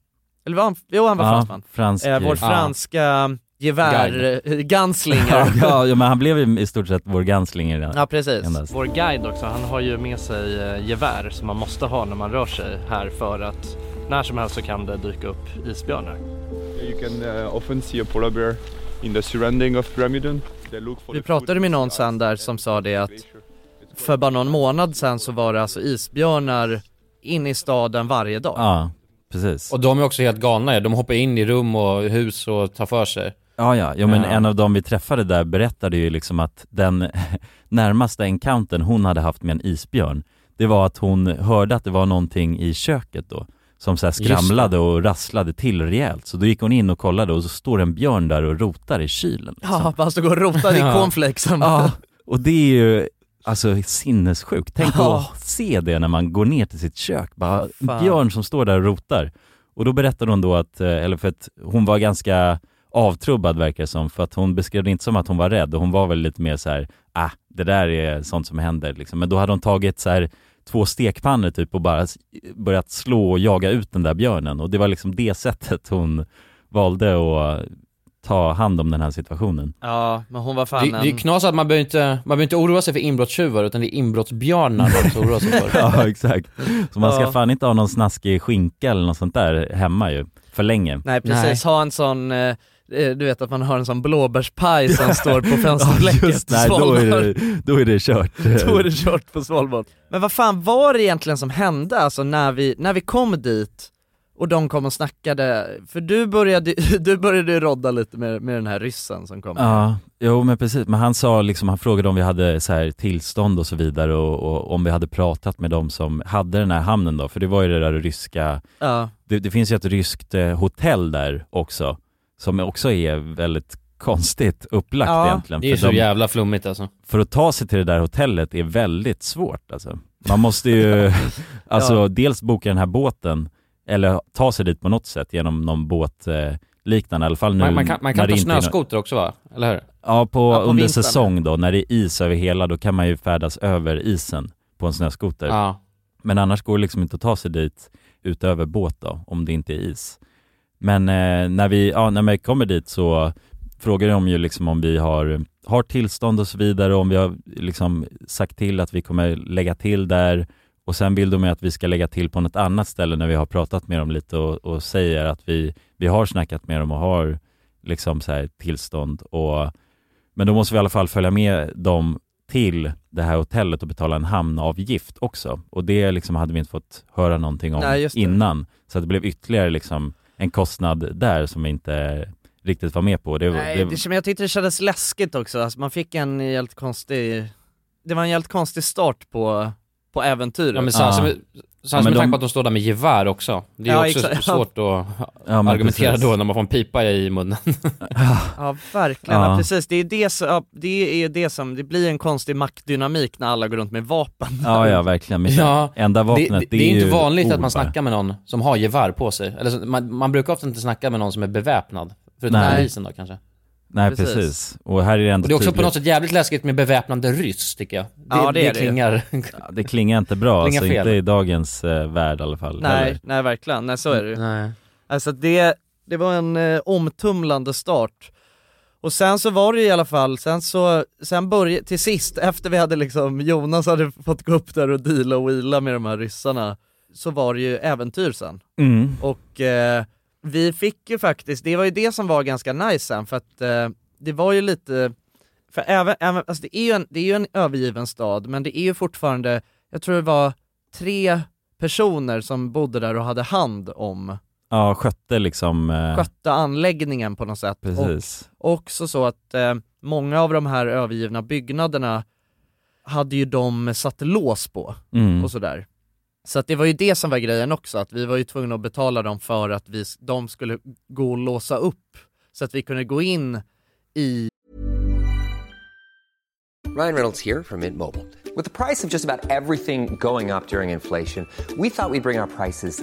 eller var han, jo han var
Ja,
fransman.
fransk-
eh, vår
Ja.
franska gevär, eh,
*laughs* Ja,
ganslinger.
*laughs* ja, ja, men han blev ju i stort sett vår ganslinger där.
Ja, precis.
Endast.
Vår guide också, han har ju med sig eh, gevär som man måste ha när man rör sig här för att när som helst så kan det dyka upp isbjörnar.
You can uh, often see a polar bear in the surrounding of Pyramidon. They look for
Vi
the
pratade med någon sen där som sa det att för bara någon månad sen så var det alltså isbjörnar inne i staden varje dag.
Ja, precis.
Och de är också helt galna ju. De hoppar in i rum och hus och tar för sig.
Ja, ja, ja men
Ja.
en av dem vi träffade där berättade ju liksom att den *laughs* närmaste encountern hon hade haft med en isbjörn, det var att hon hörde att det var någonting i köket då, som så här
Just det.
skramlade och rasslade till rejält. Så då gick hon in och kollade och så står en björn där och rotar i kylen. liksom.
Ja, bara stod och rotade i
Ja.
cornflakesen. *laughs*
Ja, *laughs* och det är ju alltså sinnessjukt. Tänk
Ja.
att se det när man går ner till sitt kök, bara
Fan.
en björn som står där och rotar. Och då berättade hon då att, eh, eller för att hon var ganska avtrubbad verkar det som, för att hon beskrev det inte som att hon var rädd, och hon var väl lite mer så här, ah, det där är sånt som händer liksom. Men då hade hon tagit så här två stekpannor typ och bara s- börjat slå och jaga ut den där björnen och det var liksom det sättet hon valde att ta hand om den här situationen.
Ja, men hon var
Det,
fan
det är
en...
knas att man behöver inte, man behöver inte oroa sig för inbrottstjuvar, utan det är inbrottsbjörnar man ska oroa sig för.
*laughs* ja exakt. Så man ska
Ja.
fan inte ha någon snaskig skinka eller något sånt där hemma ju, för länge.
Nej precis, ha en sån, eh, eh, du vet att man har en sån blåbärspaj som står på fönsterblecket
*laughs* Ja, just, nej, då, är det, då är det kört.
Då är det kört på Svalbard. Men vad fan var det egentligen som hände alltså när vi, när vi kom dit och de kom och snackade, för du började, *laughs* du började ju rodda lite med, med den här ryssen som kom.
Ja, jo men precis. Men han sa liksom, han frågade om vi hade så här tillstånd och så vidare och, och om vi hade pratat med de som hade den här hamnen då, för det var ju det där ryska,
Ja.
det, det finns ju ett ryskt eh, hotell där också, som också är väldigt konstigt upplagt
Ja.
egentligen.
Det är ju
för
så
de-
jävla flummigt alltså.
för att ta sig till det där hotellet är väldigt svårt alltså. Man
*laughs*
måste ju, alltså
Ja.
dels boka den här båten, eller ta sig dit på något sätt genom någon båt eh, liknande i alla fall nu
Man, man kan, man kan
när det
ta
inte är nå-
snöskoter också va? Eller hur?
Ja, på,
Ja, på
under
vintern.
säsong då, när det är is över hela, då kan man ju färdas över isen på en snöskoter.
Ja.
Men annars går det liksom inte att ta sig dit utöver båt då, om det inte är is. Men eh, när, vi, ja, när vi kommer dit så frågar de ju liksom om vi har, har tillstånd och så vidare, om vi har liksom sagt till att vi kommer lägga till där och sen vill de ju att vi ska lägga till på något annat ställe när vi har pratat med dem lite och, och säger att vi, vi har snackat med dem och har liksom så här tillstånd och men då måste vi i alla fall följa med dem till det här hotellet och betala en hamnavgift också. Och det liksom hade vi inte fått höra någonting om
Nej, just det.
innan. Så att det blev ytterligare liksom en kostnad där som vi inte riktigt var med på. Det, var-
Nej, det, men jag tyckte det kändes läskigt också, alltså, man fick en helt konstig, det var en helt konstig start på, på äventyret.
Ja, men sen, sen, sen
men
med
de-
tanke på att de står där med gevär också. Det är
Ja,
ju också
exakt.
svårt att
Ja, men
argumentera
precis.
då när man får en pipa i munnen.
Ja verkligen, ja.
Ja.
precis. Det är det, som, ja, det är det som, det blir en konstig maktdynamik när alla går runt med vapen.
Ja, ja
*laughs*
verkligen. Men enda vapnet,
det,
det,
det, det är inte
ju
vanligt att man
ord, va?
snackar med någon som har gevär på sig. Eller, så- man, man brukar ofta inte snacka med någon som är beväpnad. Förutom
Nej.
polisen då kanske.
Nej, precis. Och här är det ändå
Och det är också på
tydligt-
något sätt jävligt läskigt med beväpnande ryss tycker jag. Det,
Ja, det är det ju.
klingar...
Ja, det klingar inte bra,
Klingar
alltså
fel.
inte i dagens eh, värld i alla fall.
Nej,
heller.
nej verkligen, nej så är det
*laughs*
ju.
Nej.
Alltså det, det var en eh, omtumlande start. Och sen så var det i alla fall, sen så, sen började, till sist, efter vi hade liksom, Jonas hade fått gå upp där och deala och wheela med de här ryssarna, så var det ju äventyr sen.
Mm.
Och eh, vi fick ju faktiskt, det var ju det som var ganska nice sen för att eh, det var ju lite, för även, även alltså det är ju en, det är ju en övergiven stad men det är ju fortfarande, jag tror det var tre personer som bodde där och hade hand om
Ja, skötte liksom... eh,
skötte anläggningen på något sätt.
Precis.
Och också så att eh, många av de här övergivna byggnaderna hade ju de satt lås på
Mm.
och sådär. Så att det var ju det som var grejen också, att vi var ju tvungna att betala dem för att vi, s- de skulle gå och låsa upp så att vi kunde gå in i
Ryan Reynolds here from Mint Mobile. With the price of just about everything going up during inflation, we thought we'd bring our prices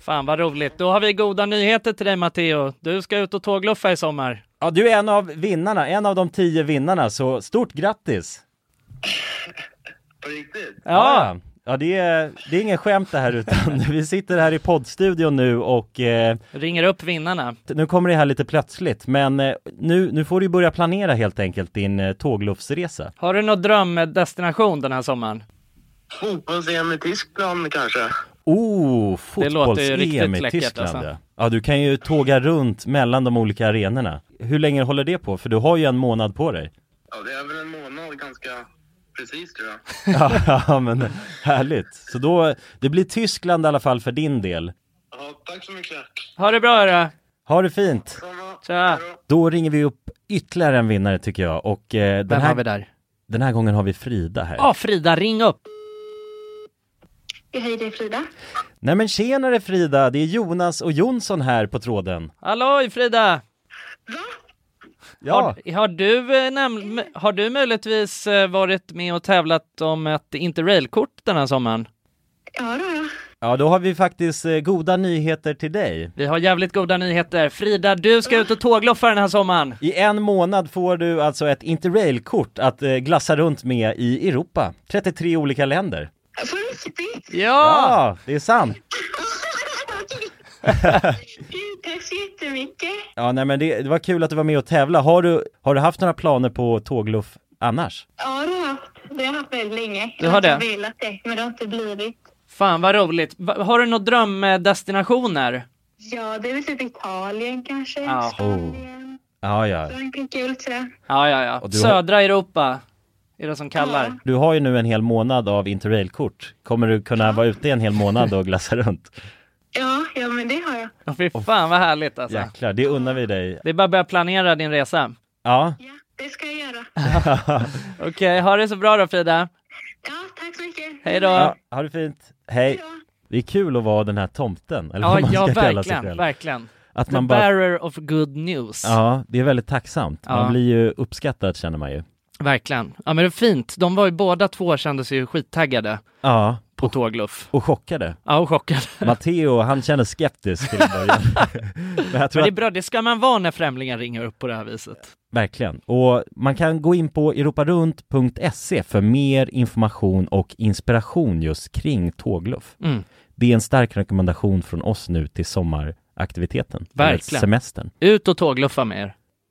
Fan vad roligt. Då har vi goda nyheter till dig Matteo. Du ska ut och tågluffa i sommar.
Ja, du är en av vinnarna, en av de tio vinnarna, så stort grattis! *laughs* På riktigt? Ja! Ja, det är, det är ingen skämt det här utan *laughs* vi sitter här i poddstudion nu och eh,
Ringer upp vinnarna.
nu kommer det här lite plötsligt men eh, nu, nu får du ju börja planera helt enkelt din eh, tågluffsresa.
Har du någon drömdestination den här sommaren?
Fotbolls-EM i Tyskland kanske?
Oh,
låter ju riktigt
fotbolls-EM i
läckert,
Tyskland
alltså.
ja. ja, du kan ju tåga runt mellan de olika arenorna. Hur länge håller det på? För du har ju en månad på dig.
Ja, det är väl en månad ganska precis tror jag.
*laughs* Ja, ja, men härligt. Så då, det blir Tyskland i alla fall för din del.
Ha det bra hörru.
Ha det fint!
Tja.
Då ringer vi upp ytterligare en vinnare tycker jag och eh, den
Vem
här,
har vi där?
Den här gången har vi Frida här.
Ja Frida, ring upp.
Hej, det är Frida.
Nej men tjenare Frida, det är Jonas och Jonsson här på tråden.
Halloj Frida!
Ja.
Har, har, du, eh, näm- har du möjligtvis eh, varit med och tävlat om ett interrailkort den här sommaren?
Ja, då, ja.
Ja, då har vi faktiskt eh, goda nyheter till dig.
Vi har jävligt goda nyheter. Frida, du ska ut och tågluffa den här sommaren.
I en månad får du alltså ett interrailkort att eh, glassa runt med i Europa. 33 olika länder.
På riktigt?
Ja, det är sant.
*laughs* Tack så jättemycket.
Ja, nej men det, det var kul att du var med och tävla. Har du, har du haft några planer på tågluff annars?
Ja, det har jag haft. Det har jag haft väldigt länge.
Du har det?
Jag har velat det, men det har inte blivit.
Fan vad roligt. Va- Har du några drömdestinationer?
Ja, det är väl typ Italien kanske.
Ja.
Oh. Ja, ja.
Frankrike kul tror jag.
Ja, ja, ja.
du har-
Södra Europa är det som kallar.
Du har ju nu en hel månad av interrailkort. Kommer du kunna vara ute en hel månad och glassa *laughs* runt?
Ja, ja men det har jag.
Åh, Fy fan vad härligt alltså.
Jäklar, det unnar vi dig.
Det är bara att börja planera din resa.
Ja.
Det ska jag göra.
Okej, ha det så bra då Frida.
Ja, tack så mycket.
Hej då.
ja, ha det fint. Hej. Det är kul att vara den här tomten, eller
Ja,
vad man
ja
ska kalla sig
verkligen,
själv.
verkligen.
Att
The
man bara...
bearer of good news.
Ja, det är väldigt tacksamt.
Ja.
Man blir ju uppskattad känner man ju.
Verkligen. Ja men det är fint. De var ju båda två kändes ju skittaggade
Ja.
på tågluff.
Och chockade.
Ja, och chockade.
Matteo, han känner skeptisk till en
*laughs*
början. Men jag tror
Men det är
att-
bra, det ska man vara när främlingar ringer upp på det här viset.
Verkligen. Och man kan gå in på europarunt.se E för mer information och inspiration just kring tågluff.
Mm.
Det är en stark rekommendation från oss nu till sommaraktiviteten. eller
Verkligen.
Semestern.
Ut och tågluffa med er.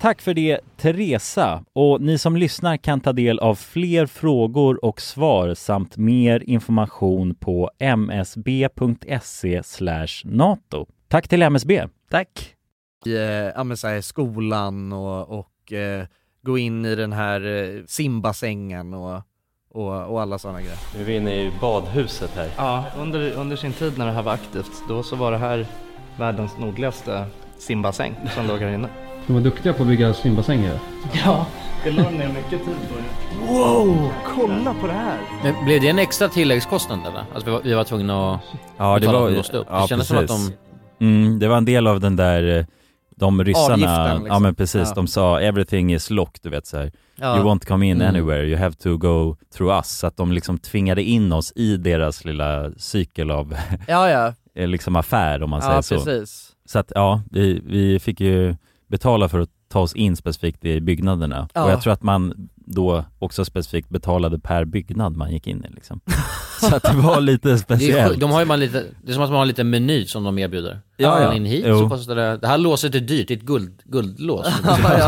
Tack för det Teresa och ni som lyssnar kan ta del av fler frågor och svar samt mer information på msb.se E NATO. Tack till MSB.
Tack. I eh, ja, men så här, skolan och, och eh, gå in i den här eh, simbassängen och, och, och alla sådana grejer.
Nu är vi inne i badhuset här.
Ja, under, under sin tid när det här var aktivt, då så var det här världens nordligaste simbassäng som låg här inne.
De var duktiga på att bygga simbassänger.
Ja, det la ner mycket tid på det.
Wow, kolla på det här!
Men blev det en extra tilläggskostnad eller? Alltså vi var, vi var tvungna att
Ja, det
betala
var,
för att låsa upp.
ja,
det kändes som att
precis.
de...
mm, det var en del av den där, eh, de ryssarna,
Avgiften, liksom.
ja men precis,
Ja.
de sa everything is locked, du vet så här.
Ja.
You won't come in
Mm.
anywhere, you have to go through us. Så att de liksom tvingade in oss i deras lilla cykel av *laughs*
Ja, ja.
eh, liksom affär om man
Ja,
säger så.
precis.
Så att ja, vi, vi fick ju betala för att ta oss in specifikt i byggnaderna.
Ja.
Och jag tror att man då också specifikt betalade per byggnad man gick in
*laughs*
i liksom. Så att det var lite
Det är, sjukt.
speciellt.
de har ju bara lite, det är som att man har en liten meny som de erbjuder.
Ja,
Går
ja.
man In hit
Jo.
så kostar det, det här låset är dyrt, det är ett guld, guldlås.
*laughs*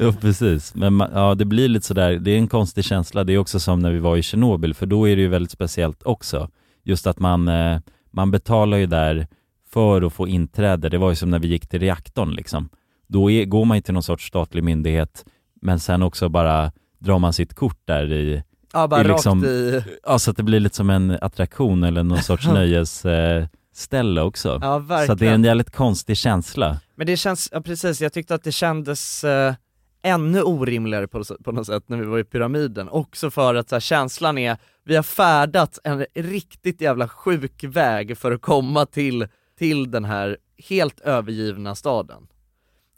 Jo, precis. Men man, ja, det blir lite sådär, det är en konstig känsla. Det är också som när vi var i Tjernobyl, för då är det ju väldigt speciellt också. Just att man, eh, man betalar ju där för att få inträde. Det var ju som när vi gick till reaktorn liksom. Då är, går man ju till någon sorts statlig myndighet, men sen också bara drar man sitt kort där i
Ja, bara
i liksom,
rakt i-
Ja, så att det blir lite som en attraktion eller
*laughs*
någon sorts nöjesställe eh, ställe också.
Ja,
så att det är
verkligen.
en jävligt konstig känsla.
Men det känns, ja precis, jag tyckte att det kändes eh, ännu orimligare på, på något sätt när vi var i pyramiden. Också för att så här, känslan är, vi har färdat en riktigt jävla sjuk väg för att komma till, till den här helt övergivna staden.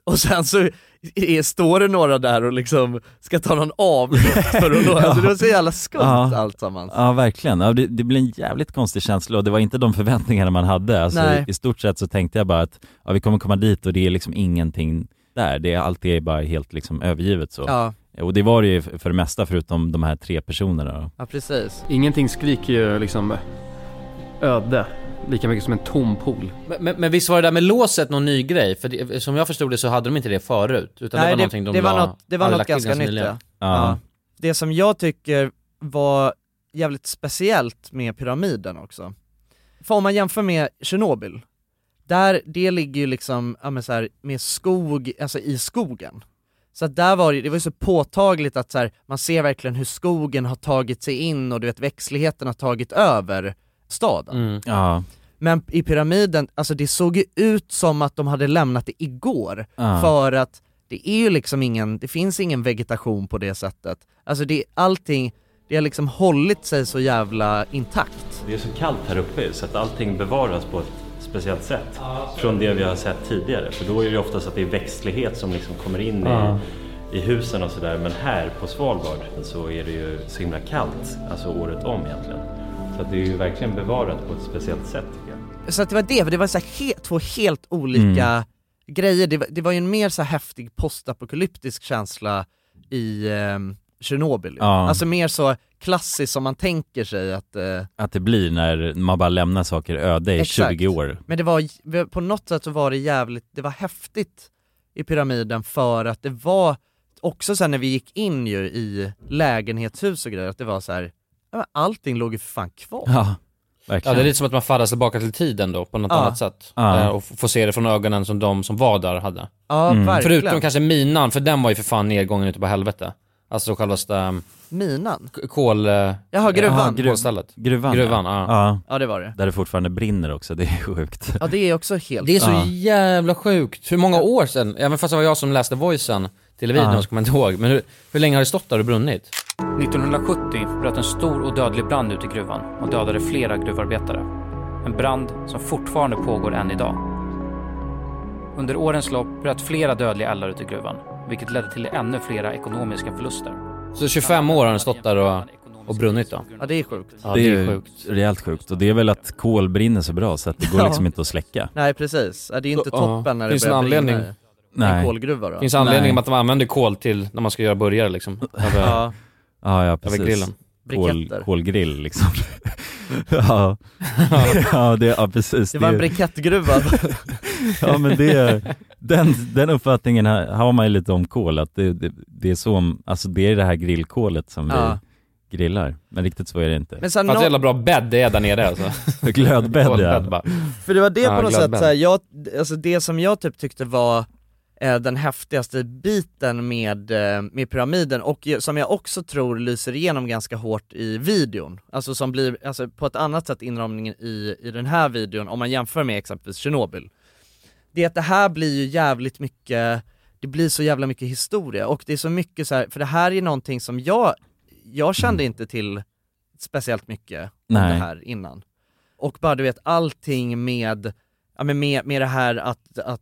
Och sen så är, står det några där och liksom ska ta någon avgift för
*laughs*
att nå, alltså det var så jävla skumt
Ja.
alltsammans.
Ja verkligen, ja, det, det blir en jävligt konstig känsla och det var inte de förväntningarna man hade. Alltså,
Nej.
i, I stort sett så tänkte jag bara att ja, vi kommer komma dit och det är liksom ingenting där, det är, allt är bara helt liksom övergivet så.
Ja.
Och det var det ju för det mesta förutom de här tre personerna då.
Mm.
Ja precis.
Ingenting skriker ju liksom öde lika mycket som en tom pool.
Men, men, men visst var det där med låset någon ny grej? För det, som jag förstod det så hade de inte det förut. Utan det var någonting de
det var
la,
något, det var
hade
något
lagt till
ganska nytt
nyligen.
ja. Ja. Det som jag tycker var jävligt speciellt med pyramiden också, för om man jämför med Tjernobyl, där, det ligger ju liksom, ja men så här, med skog, alltså i skogen. Så att där var det, det var ju så påtagligt att så här, man ser verkligen hur skogen har tagit sig in och du vet växtligheten har tagit över staden.
Ja.
Men i pyramiden, alltså det såg ju ut som att de hade lämnat det igår,
Ja.
för att det är ju liksom ingen, det finns ingen vegetation på det sättet. Alltså det, allting, det har liksom hållit sig så jävla intakt.
Det är så kallt här uppe så att allting bevaras på ett speciellt sätt från det vi har sett tidigare. För då är det oftast att det är växtlighet som liksom kommer in
Ja.
i, i husen och sådär. Men här på Svalbard så är det ju så himla kallt, alltså året om egentligen. Så att det är ju verkligen bevarat på ett speciellt sätt tycker jag.
Så att det var det, för det var så här he- två helt olika
Mm.
grejer. Det var, det var ju en mer så här häftig postapokalyptisk känsla i eh, Tjernobyl. ju.
Ja.
Alltså mer så klassiskt som man tänker sig att eh,
Att det blir när man bara lämnar saker öde i
Exakt.
20 år.
Men det var, på något sätt så var det jävligt, det var häftigt i pyramiden för att det var, också sen när vi gick in ju i lägenhetshus och grejer, att det var så här, ja, men allting låg ju för fan kvar.
Ja,
Ja, det är lite som att man färdas tillbaka till tiden då, på något
Ja.
annat sätt.
Ja.
Eh, Och f- får se det från ögonen som de som var där hade.
Ja, Mm. verkligen.
Förutom kanske minan, för den var ju för fan nedgången ute på helvete. Alltså självaste ehm,
Minan?
k- kol... eh,
Jaha, gruvan.
eh, kolstället.
Gruvan,
gruvan
ja.
ja.
Ja, det var det.
Där det fortfarande brinner också, det är sjukt.
Ja det är också helt
Det är så
Ja.
jävla sjukt. Hur många år sedan, även fast det var jag som läste voicen till videon
Ja.
så kommer jag inte ihåg, men hur, hur länge har det stått där och brunnit?
1970 bröt en stor och dödlig brand ut i gruvan och dödade flera gruvarbetare. En brand som fortfarande pågår än idag. Under årens lopp bröt flera dödliga eldar ut i gruvan, vilket ledde till ännu flera ekonomiska förluster.
Så 25 år har den stått där och, och brunnit då?
Ja det är sjukt.
Ja det är
ju
sjukt.
rejält sjukt och det är väl att kol brinner så bra så att det går
Ja.
liksom inte att släcka.
Nej precis, Ja, det är inte
Ja,
toppen när det
finns
börjar
en anledning.
brinna i- i
Nej.
en kolgruva då.
Finns anledning att de använder kol till när man ska göra burgare liksom? Över,
Ja.
Ja, ja
över
precis.
grillen.
Kol, kolgrill liksom. *laughs*
*laughs*
ja. ja, det, ja, precis.
Det var en
*laughs*
brikettgruva.
ja, men det,
*laughs*
den, den uppfattningen har, har man ju lite om kol, att det, det, det är så, alltså det är det här grillkolet som
Ja.
vi grillar. Men riktigt så är det inte.
Men sen Fast nå- jävla
bra bädd det är där nere alltså.
*laughs* Glödbädd ja.
Kolbädd bara.
För det var det
Ja,
på något
glad
sätt,
man.
så här, jag, alltså det som jag typ tyckte var eh, den häftigaste biten med, eh, med pyramiden och ju- som jag också tror lyser igenom ganska hårt i videon, alltså som blir alltså på ett annat sätt inramningen i, i den här videon om man jämför med exempelvis Tjernobyl. Det är att det här blir ju jävligt mycket, det blir så jävla mycket historia och det är så mycket så här, för det här är någonting som jag, jag kände inte till speciellt mycket om det
Mm. Nej.
här innan. Och bara du vet allting med, ja, men med, med det här att, att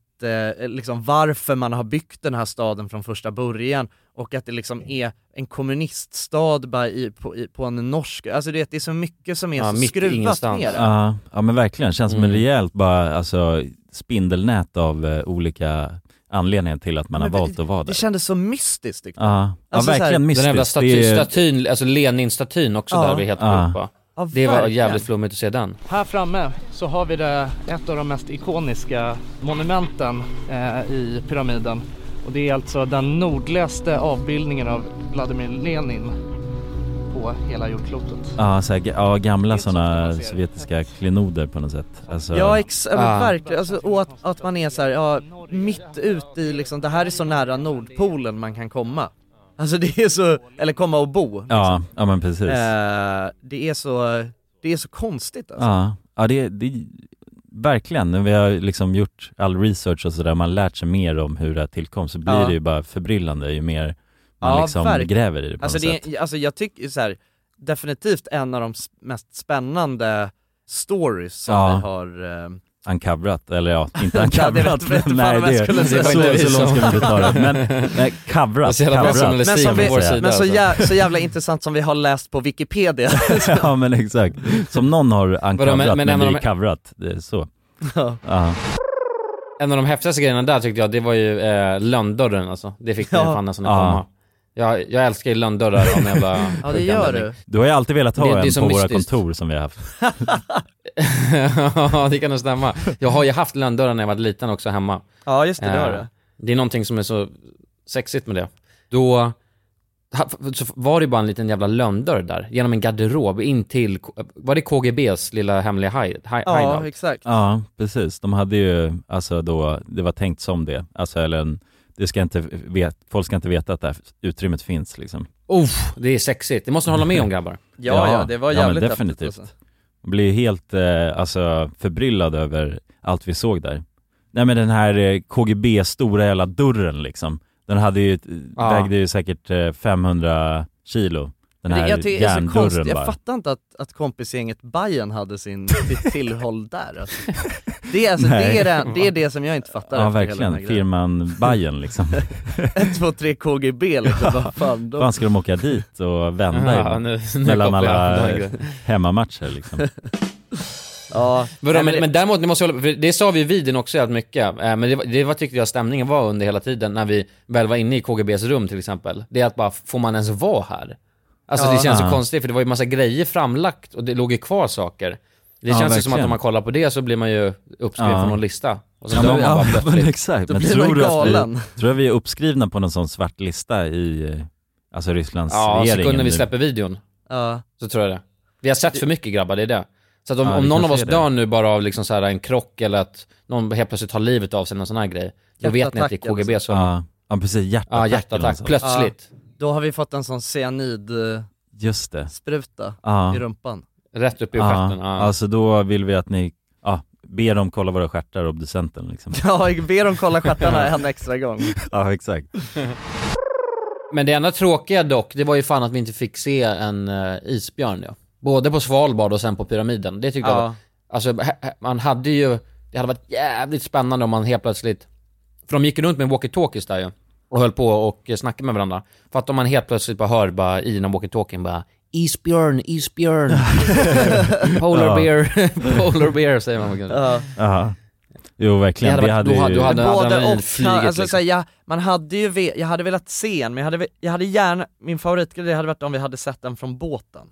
eh, liksom varför man har byggt den här staden från första början och att det liksom
Mm.
är en kommuniststad bara i, på, i, på en norsk, alltså det, det är så mycket som är så skruvat ner.
Ja, ja men verkligen, känns som en
Mm.
rejält bara, alltså spindelnät av eh, olika anledningar till att man
Men
har valt att vara där.
Det kändes så mystiskt tyckte jag.
Ja, ja
Alltså, så här-
verkligen mystiskt.
Den jävla
Det
staty,
är-
statyn, alltså Lenin-statyn också
Ja.
där vi helt
Ja.
sjukt på.
Ja,
Det var
verkligen.
jävligt flummigt att se den.
Här framme så har vi det, ett av de mest ikoniska monumenten eh, i pyramiden. Och det är alltså den nordligaste avbildningen av Vladimir Lenin på hela jordklotet.
Ja, så här, ga- ja gamla sådana sovjetiska klenoder på något sätt. Alltså,
Ja exakt,
Ja.
verkligen. Alltså, och att, att man är så här, ja, mitt ute i liksom, det här är så nära nordpolen man kan komma. Alltså det är så, eller komma och bo.
Ja, ja men precis.
Eh, det är så, det är så konstigt alltså.
Ja, ja det, det är verkligen, när vi har liksom gjort all research och sådär, man lärt sig mer om hur det här tillkom, så blir
Ja.
det ju bara förbryllande ju mer man liksom gräver i det på
alltså,
något sätt.
det är, alltså jag tycker så här, definitivt en av de s- mest spännande stories som
Ja.
vi har eh,
Uncoverat,
*laughs*
eller ja, inte
Ja, det
uncoverat,
vet- vet inte
nej
fan vad jag
det,
skulle
så,
säga.
så,
Det var inte
så långt
vi
ska man
som-
inte
*laughs*
ta det, men nej, coverat,
Så jävla bra
coverat.
journalistik Men som på vår vi- sida, men så alltså. jä- så jävla intressant som vi har läst på
*laughs*
Wikipedia.
ja
*laughs*
men exakt, som någon har uncoverat
men- men
men,
en av
vi
de-
är coverat, det är så.
Ja.
Ja.
En av de häftigaste grejerna där tyckte jag, det var ju eh, lönndörren alltså. Det fick mig
Ja.
fan nästan att
Ja.
komma. Jag, jag älskar ju lönndörrar av en jävla
*laughs* Ja, det
sjuk
gör
anledning.
du.
Du har ju alltid velat ha
Det- det är
en
så
på våra
mystiskt.
kontor som vi har haft.
*laughs* ja, det kan nog stämma. Jag har ju haft lönndörrar när jag var liten också hemma.
Ja, just det, det har
Eh,
du.
Det är någonting som är så sexigt med det. Då ha- så var det ju bara en liten jävla lönndörr där, genom en garderob in till, K- var det KGBs lilla hemliga hide- hi-
Ja,
hideout?
exakt.
*laughs* Ja, precis. De hade ju, alltså då, det var tänkt som det. Alltså eller en, det ska inte vet, folk ska inte veta att det här utrymmet finns liksom.
Uff, det är sexigt. Det måste ni hålla med om grabbar.
Ja, ja, det var
ja, men
jävligt häftigt,
definitivt.
alltså.
Jag blev ju helt eh, alltså, förbryllad över allt vi såg där. Nej men den här eh, KGB stora jävla dörren liksom. Den hade ju,
Ja.
vägde ju säkert eh, 500 kilo. Den
Men
här
det, jag tycker det är så
järndörren
konstigt, jag
bara.
fattar inte att, att kompisgänget Bayern hade sin, sitt tillhåll där alltså. det, är alltså,
Nej.
det, är det, det är det som jag inte fattar
Ja
efter hela den här
verkligen,
grejen.
firman
*laughs*
Bayern liksom.
1, 2, 3 KGB
*laughs*
liksom, vad fan de...
Fan ska de åka dit och
*laughs*
vända
Ja,
i-
nu- nu kopplar jag
mellan
den
alla
här grejen.
hemmamatcher *laughs* liksom.
Ja,
Vadå,
nej,
men,
det-
men däremot, ni måste hålla, för det sa vi i videon också jävligt mycket, eh, men det, var- det var, tyckte jag stämningen var under hela tiden när vi väl var inne i KGBs rum till exempel. Det är att bara, får man ens vara här? Alltså
Ja.
det känns så
Ja.
konstigt för det var ju massa grejer framlagt och det låg ju kvar saker. Det
Ja,
känns ju som att
verkligen.
om man kollar på det så blir man ju uppskriven
Ja.
på någon lista. Och sen
Ja,
dör
men,
man bara
ja, men
plötsligt.
exakt. Men tror du att vi, tror du att vi är uppskrivna på någon sån svart lista i eh, alltså Rysslands
Ja,
regering?
sekunden vi
nu?
släpper videon.
Ja.
Så tror jag det. Vi har sett för mycket grabbar, det är det. Så att om,
Ja,
om
vi
någon av
kanske
oss
är det.
dör nu bara av liksom så här en krock eller att någon helt plötsligt tar livet av sig, någon sån här grej. Då vet ni att det är
Hjärtattack eller
KGB
så.
som...
alltså. Ja, ja precis, hjärtattack. alltså.
Ja,
eller något
hjärtattack.
sånt.
Plötsligt.
Ja, då har vi fått en sån cyanid eh,
Just det.
spruta
Ja.
i rumpan. *laughs*
Rätt upp i
Ja,
stjärten. Ja.
Alltså då vill vi att ni ja, ber dem kolla våra stjärtar, obducenten
*laughs*
liksom.
Ja, jag ber dem kolla
*laughs*
stjärtarna en extra gång.
ja, exakt.
Men det enda tråkiga dock, det var ju fan att vi inte fick se en eh, isbjörn ja. Både på Svalbard och sen på Pyramiden. Det tyckte
Ja.
jag var, Alltså, he- he- man hade ju... Det hade varit jävligt spännande om man helt plötsligt... För de gick ju runt med walkie-talkies där ju. Och höll på och eh, snackade med varandra. För att om man helt plötsligt bara hör bara i den walkie-talkien bara Isbjörn, isbjörn. Polar
Ja.
bear, *laughs* polar bear säger man kanske.
Ja.
Ja. Jo verkligen,
Det
vi
hade varit-
hade,
då
ju...
hade- då hade-
Men både och,
adrenalinflyget,
alltså,
liksom.
såhär, jag, man hade ju ve- jag hade velat se en, men jag hade, ve- jag hade gärna, min favoritgrej det hade varit om vi hade sett den från båten.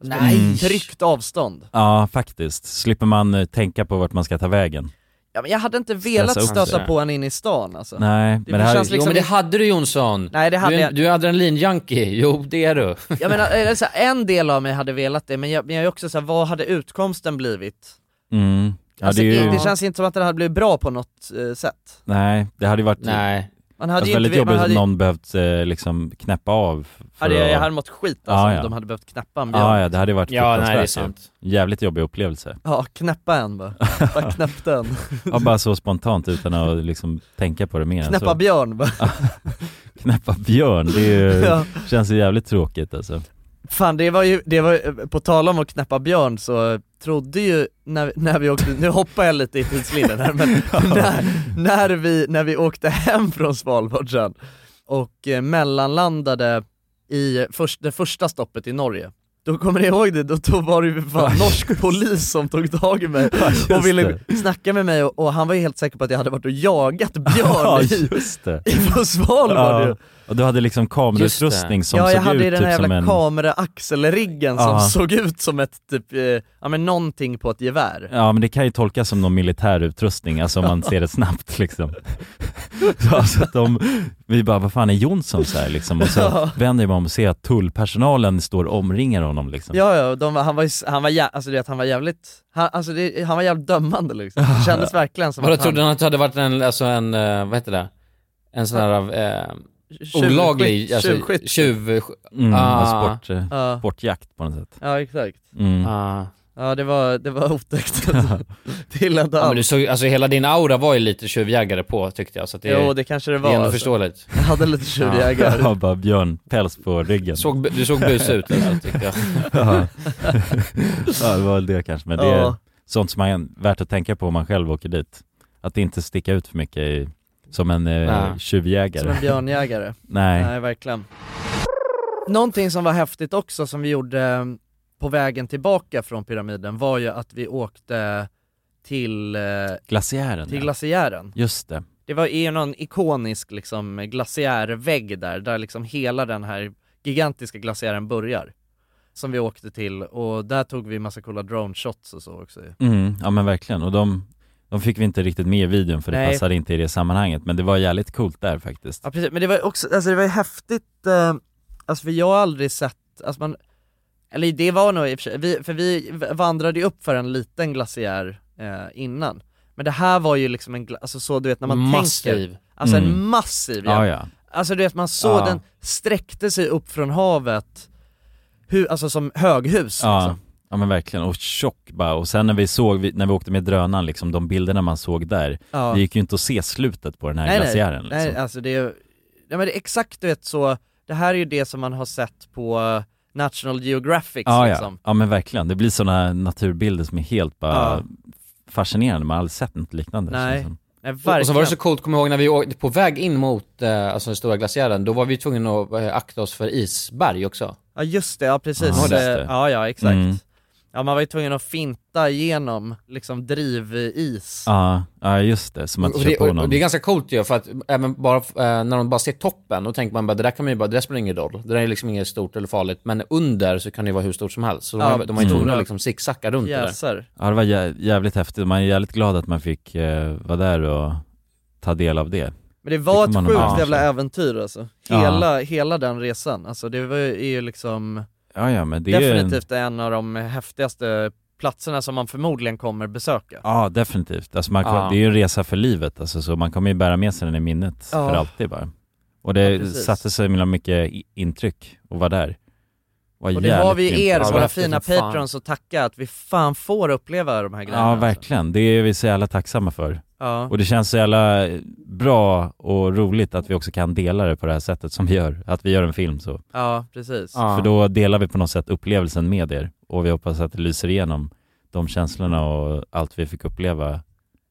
Alltså,
Nej.
Tryckt avstånd.
Ja, faktiskt. Slipper man eh, tänka på vart man ska ta vägen.
Ja, men jag hade inte velat
Stressa upp
stöta
sig.
på en in i stan alltså.
Nej,
det
men det här-
känns
Jo
liksom
men det hade du Jonsson.
Nej, det
du,
hade
är en-
jag-
du är adrenalinjunkie. Jo det är du.
Jag menar, eller så här, en del av mig hade velat det, men jag, men jag är också såhär, vad hade utkomsten blivit?
Mm. Ja,
alltså,
det,
det,
är ju...
det känns inte som att det hade blivit bra på något eh, sätt.
Nej, det hade ju varit
Nej.
Man hade
alltså,
ju
väldigt
inte- man
jobbigt
hade
att
ju-
någon behövt eh, liksom knäppa av. för
Ja, det,
att-
jag hade mått skit alltså,
Ja, ja.
om de hade behövt knäppa en björn.
Ja, ja, det hade ju
*laughs*
varit
Ja, nej, det är
fruktansvärt ju.
sant.
Jävligt jobbig upplevelse.
Ja, knäppa en bara. Bara knäppte
*laughs*
en.
Ja, bara så spontant utan att liksom tänka på det mer än
Knäppa
så.
björn bara.
Knäppa björn, det är ju,
*laughs* Ja.
känns ju jävligt tråkigt alltså.
Fan det var ju, det var, ju- på tal om att knäppa björn så trodde ju när, när vi åkte, nu hoppar jag lite i tidslinjen här
*laughs*
men när, när, vi, när vi åkte hem från Svalbard sen och eh, mellanlandade i först, det första stoppet i Norge då kommer ni ihåg det, då, då var det ju fan norsk polis som tog tag i mig
just
och ville
det.
snacka med mig och, och han var ju helt säker på att jag hade varit och jagat björn
Ja,
i,
just det.
i, på Svalbard ju.
Ja, och du hade liksom kamerautrustning som
Ja jag
såg
hade ju
ut
den här
typ som
jävla
en...
kameraaxelriggen som
Ja.
såg ut som ett typ, eh, ja men någonting på ett gevär.
Ja men det kan ju tolkas som någon militärutrustning, alltså om man ser det
*laughs*
snabbt liksom. Så alltså att de, vi bara, vad fan är Jonsson så här liksom? Och så
Ja.
vänder man om och ser att tullpersonalen står och omringar honom liksom.
Ja ja, de, var- han var ju, s- han var, jä- alltså du vet han var jävligt, han, alltså det, han var jävligt dömande liksom. Det kändes verkligen som
Vadå,
att han...
trodde han att det hade varit en, alltså en, eh, vad heter det? En sån här, eh,
Tjuvskytt-
olaglig, alltså
tjuvskytt.
tjuv...
Mm,
Ah.
ah. sport, eh,
Ja.
sportjakt på något sätt.
Ja exakt.
Mm.
Ah.
Ja det var, det var otäckt. *laughs* Till en
Ja, men
dans.
du såg, ju- alltså hela din aura var ju lite tjuvjägare på tyckte jag, så att det,
Jo, det kanske det var,
Det är ändå
alltså.
förståligt.
Jag hade lite tjuvjägare.
*laughs* Ja, bara björn, päls på ryggen.
Såg bu- du såg busig ut, alltså, tyckte
*laughs*
jag.
ja. *laughs* *laughs* ja, det var väl det kanske. Men det är
Ja.
sånt som är värt att tänka på om man själv åker dit. Att inte sticka ut för mycket i, som en eh,
Nej.
tjuvjägare.
Som en björnjägare.
*laughs* Nej.
Nej, verkligen. Någonting som var häftigt också som vi gjorde eh, på vägen tillbaka från pyramiden var ju att vi åkte till, eh,
Glaciären.
till
ja.
glaciären.
Just det.
Det var ju någon ikonisk liksom glaciärvägg där, där liksom hela den här gigantiska glaciären börjar. Som vi åkte till och där tog vi massa coola drone shots och så också ju.
Mm, ja men verkligen. Och de, de fick vi inte riktigt med i videon för det
Nej.
passade inte i det sammanhanget. Men det var jävligt coolt där faktiskt.
Ja precis, men det var ju också, alltså det var ju häftigt, eh, alltså för jag har aldrig sett, alltså man, eller det var nog i och för sig, vi, för vi v- vandrade ju upp för en liten glaciär eh, innan. Men det här var ju liksom en, gla- alltså så du vet när man
Massiv.
tänker, alltså en
Mm.
massiv
Ja, ja.
Alltså du vet man såg
Ja.
den sträckte sig upp från havet, hu, alltså som höghus
Ja,
liksom.
ja men verkligen, och tjock bara. Och sen när vi såg, vi- när vi åkte med drönaren liksom, de bilderna man såg där,
Ja.
det gick ju inte att se slutet på den här
nej,
glaciären
liksom.
liksom.
nej, nej, alltså det är ju- ja, men det är exakt du vet så, det här är ju det som man har sett på eh, National Geographic
ja,
liksom.
ja. ja men verkligen, det blir sådana naturbilder som är helt bara
Ja.
fascinerande, man har aldrig sett något liknande. liksom. känns det som.
Nej,
Och- Och så var
verkligen.
det så coolt, kommer jag ihåg när vi åkte på väg in mot eh, alltså den stora glaciären, då var vi tvungna att eh, akta oss för isberg också.
Ja just det, ja precis.
Ja, just
Eh,
det.
Ja, ja exakt.
Mm.
Ja man var ju tvungen att finta igenom liksom drivis.
Ja, ja just det, som att
Och
köra
det,
på
och, och
någon.
det är ganska coolt ju, för att även bara, eh, när de bara ser toppen, då tänker man bara det där kan man ju bara, det där spelar ingen roll. Det där är liksom inget stort eller farligt. Men under så kan det ju vara hur stort som helst. Så de
Ja,
har- de har ju
stora
tvungna att liksom zigzacka runt det
pjäser.
där.
Ja det var jä- jävligt häftigt, man är jävligt glad att man fick eh, vara där och ta del av det.
Men det var
kommer man
ett
nog
sjukt
aldrig
jävla
se.
äventyr alltså. Hela, hela den resan, alltså det var ju, är ju liksom
Ja, ja, men det är ju en-
definitivt en av de häftigaste platserna som man förmodligen kommer besöka.
Ja, definitivt. Alltså man,
Ja.
Det är ju en resa för livet, alltså, så man kommer ju bära med sig den i minnet
Ja.
för alltid bara. Och det
Ja, precis.
satte så himla mycket i- intryck att vara där. Var
Och det har vi er,
som
våra fina patrons, att tacka att vi fan får uppleva de här grejerna. alltså.
Ja, verkligen. Det är vi så jävla tacksamma för.
Ja.
Och det känns så jävla eh, bra och roligt att vi också kan dela det på det här sättet som vi gör. Att vi gör en film så.
Ja, precis.
För då delar vi på något sätt upplevelsen med er och vi hoppas att det lyser igenom de känslorna och allt vi fick uppleva,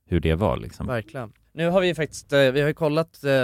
hur det var liksom.
Verkligen. Nu har vi faktiskt, eh, vi har ju kollat eh,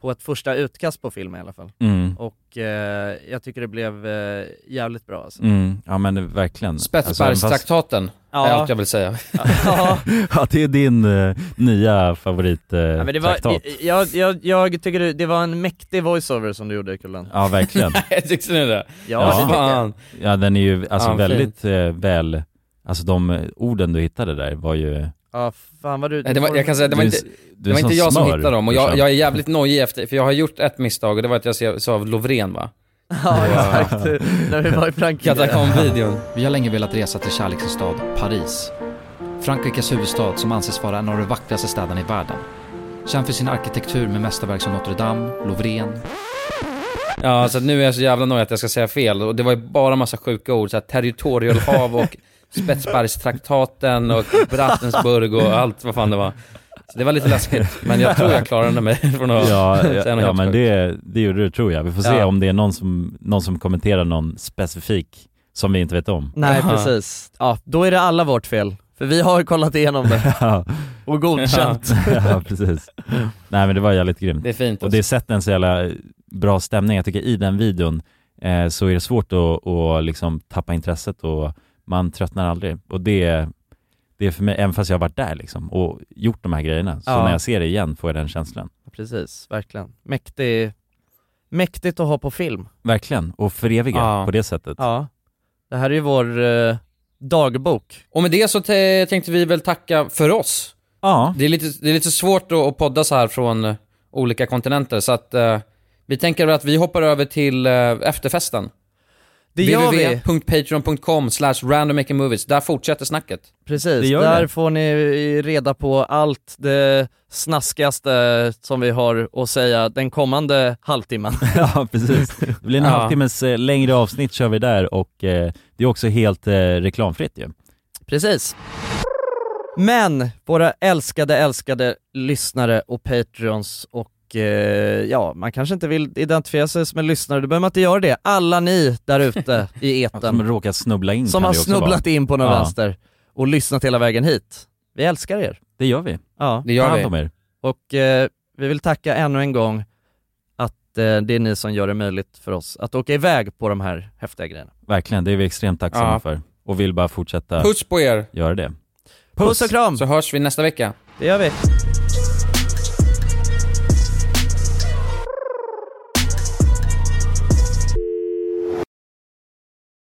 på ett första utkast på filmen i alla fall.
Mm.
Och eh, jag tycker det blev eh, jävligt bra alltså.
Mm, ja men det- verkligen. Alltså,
Spetsbergstraktaten
Ja.
är allt jag vill säga. *laughs*
*laughs* Ja.
Även fast- *laughs* ja det är din eh, nya favorit eh,
Ja, men det var,
traktat.
jag, jag, jag tycker det- det var en mäktig voiceover som du gjorde Kullen.
*laughs*
Ja verkligen.
Tyckte ni det?
Ja,
Fan.
ja den är ju alltså
Ja, fint.
väldigt eh, väl, alltså de eh, orden du hittade där var ju
Ja, fan vad du...
Nej, det var, jag kan säga, det var
Du-
inte,
du
det var
är
inte
som
jag som
smör, liksom.
hittade dem och jag,
brorsan.
jag är jävligt nojig efter, för jag har gjort ett misstag och det var att jag sa- sa Lovren va?
*laughs* Ja exakt, när vi var i Frankrike.
Katakombvideon.
Vi har länge velat resa till kärlekens stad, Paris. Frankrikes huvudstad som anses vara en av de vackraste städerna i världen. Känd för sin arkitektur med mästerverk som Notre Dame, Louvren.
Ja, så att nu är jag så jävla nojig att jag ska säga fel. Och det var ju bara massa sjuka ord, så här
*laughs*
territorialhav och Spetsbergstraktaten och Brattensburg och allt vad fan det var. Så det var lite läskigt, men jag tror jag klarade mig från *laughs* att
Ja,
säga något
ja, ja
helt
men
sjukt.
det, det gjorde du tror jag. Vi får se
Ja.
om det är någon som, någon som kommenterar någon specifik som vi inte
*laughs*
vet om. *laughs*
Nej
Ja.
precis. Ja, då är det alla vårt fel. För vi har kollat igenom
*laughs*
det.
Ja.
Och godkänt.
*laughs* ja, precis. Nej men det var jävligt grymt.
Det är fint
Och det sätter en så jävla bra stämning. Jag tycker i den videon eh, så är det svårt att, att liksom tappa intresset och man tröttnar aldrig. Och det, det är för mig, även fast jag har varit där liksom och gjort de här grejerna, så
Ja.
när jag ser det igen får jag den känslan.
Precis, verkligen. Mäktig, mäktigt att ha på film.
Verkligen, och föreviga
Ja.
på det sättet.
Ja. Det här är ju vår eh, dagbok.
Och med det så te- tänkte vi väl tacka för oss.
*laughs*
Ja.
Det är lite, det är lite svårt att att podda så här från eh, olika kontinenter, så att eh, vi tänker väl att vi hoppar över till eh, efterfesten.
Det gör vi.
www.patreon.com slash randommakingmovies, där fortsätter snacket.
Precis,
Det gör
där
det.
får ni reda på allt det snaskigaste som vi har att säga den kommande halvtimmen. *laughs*
Ja precis. Det blir en
Ja.
halvtimmes eh, längre avsnitt kör vi där och eh, det är också helt eh, reklamfritt ju.
Precis. Men våra älskade, älskade lyssnare och patreons och eh, ja, man kanske inte vill identifiera sig som en lyssnare, då behöver man inte göra det. Alla ni där ute
*laughs*
i etern.
Som råkar snubbla in
Som
kan
har
det också
snubblat
vara.
in på någon
Ja.
vänster och lyssnat hela vägen hit. Vi älskar er.
Det gör vi.
Ja.
Det gör Ta hand vi. om er.
Och eh, vi vill tacka ännu en gång att eh, det är ni som gör det möjligt för oss att åka iväg på de här häftiga grejerna.
Verkligen, det är vi extremt tacksamma
Ja.
för. Och vill bara fortsätta
Puss på er!
göra det.
Puss och kram!
Så hörs vi nästa vecka.
Det gör vi.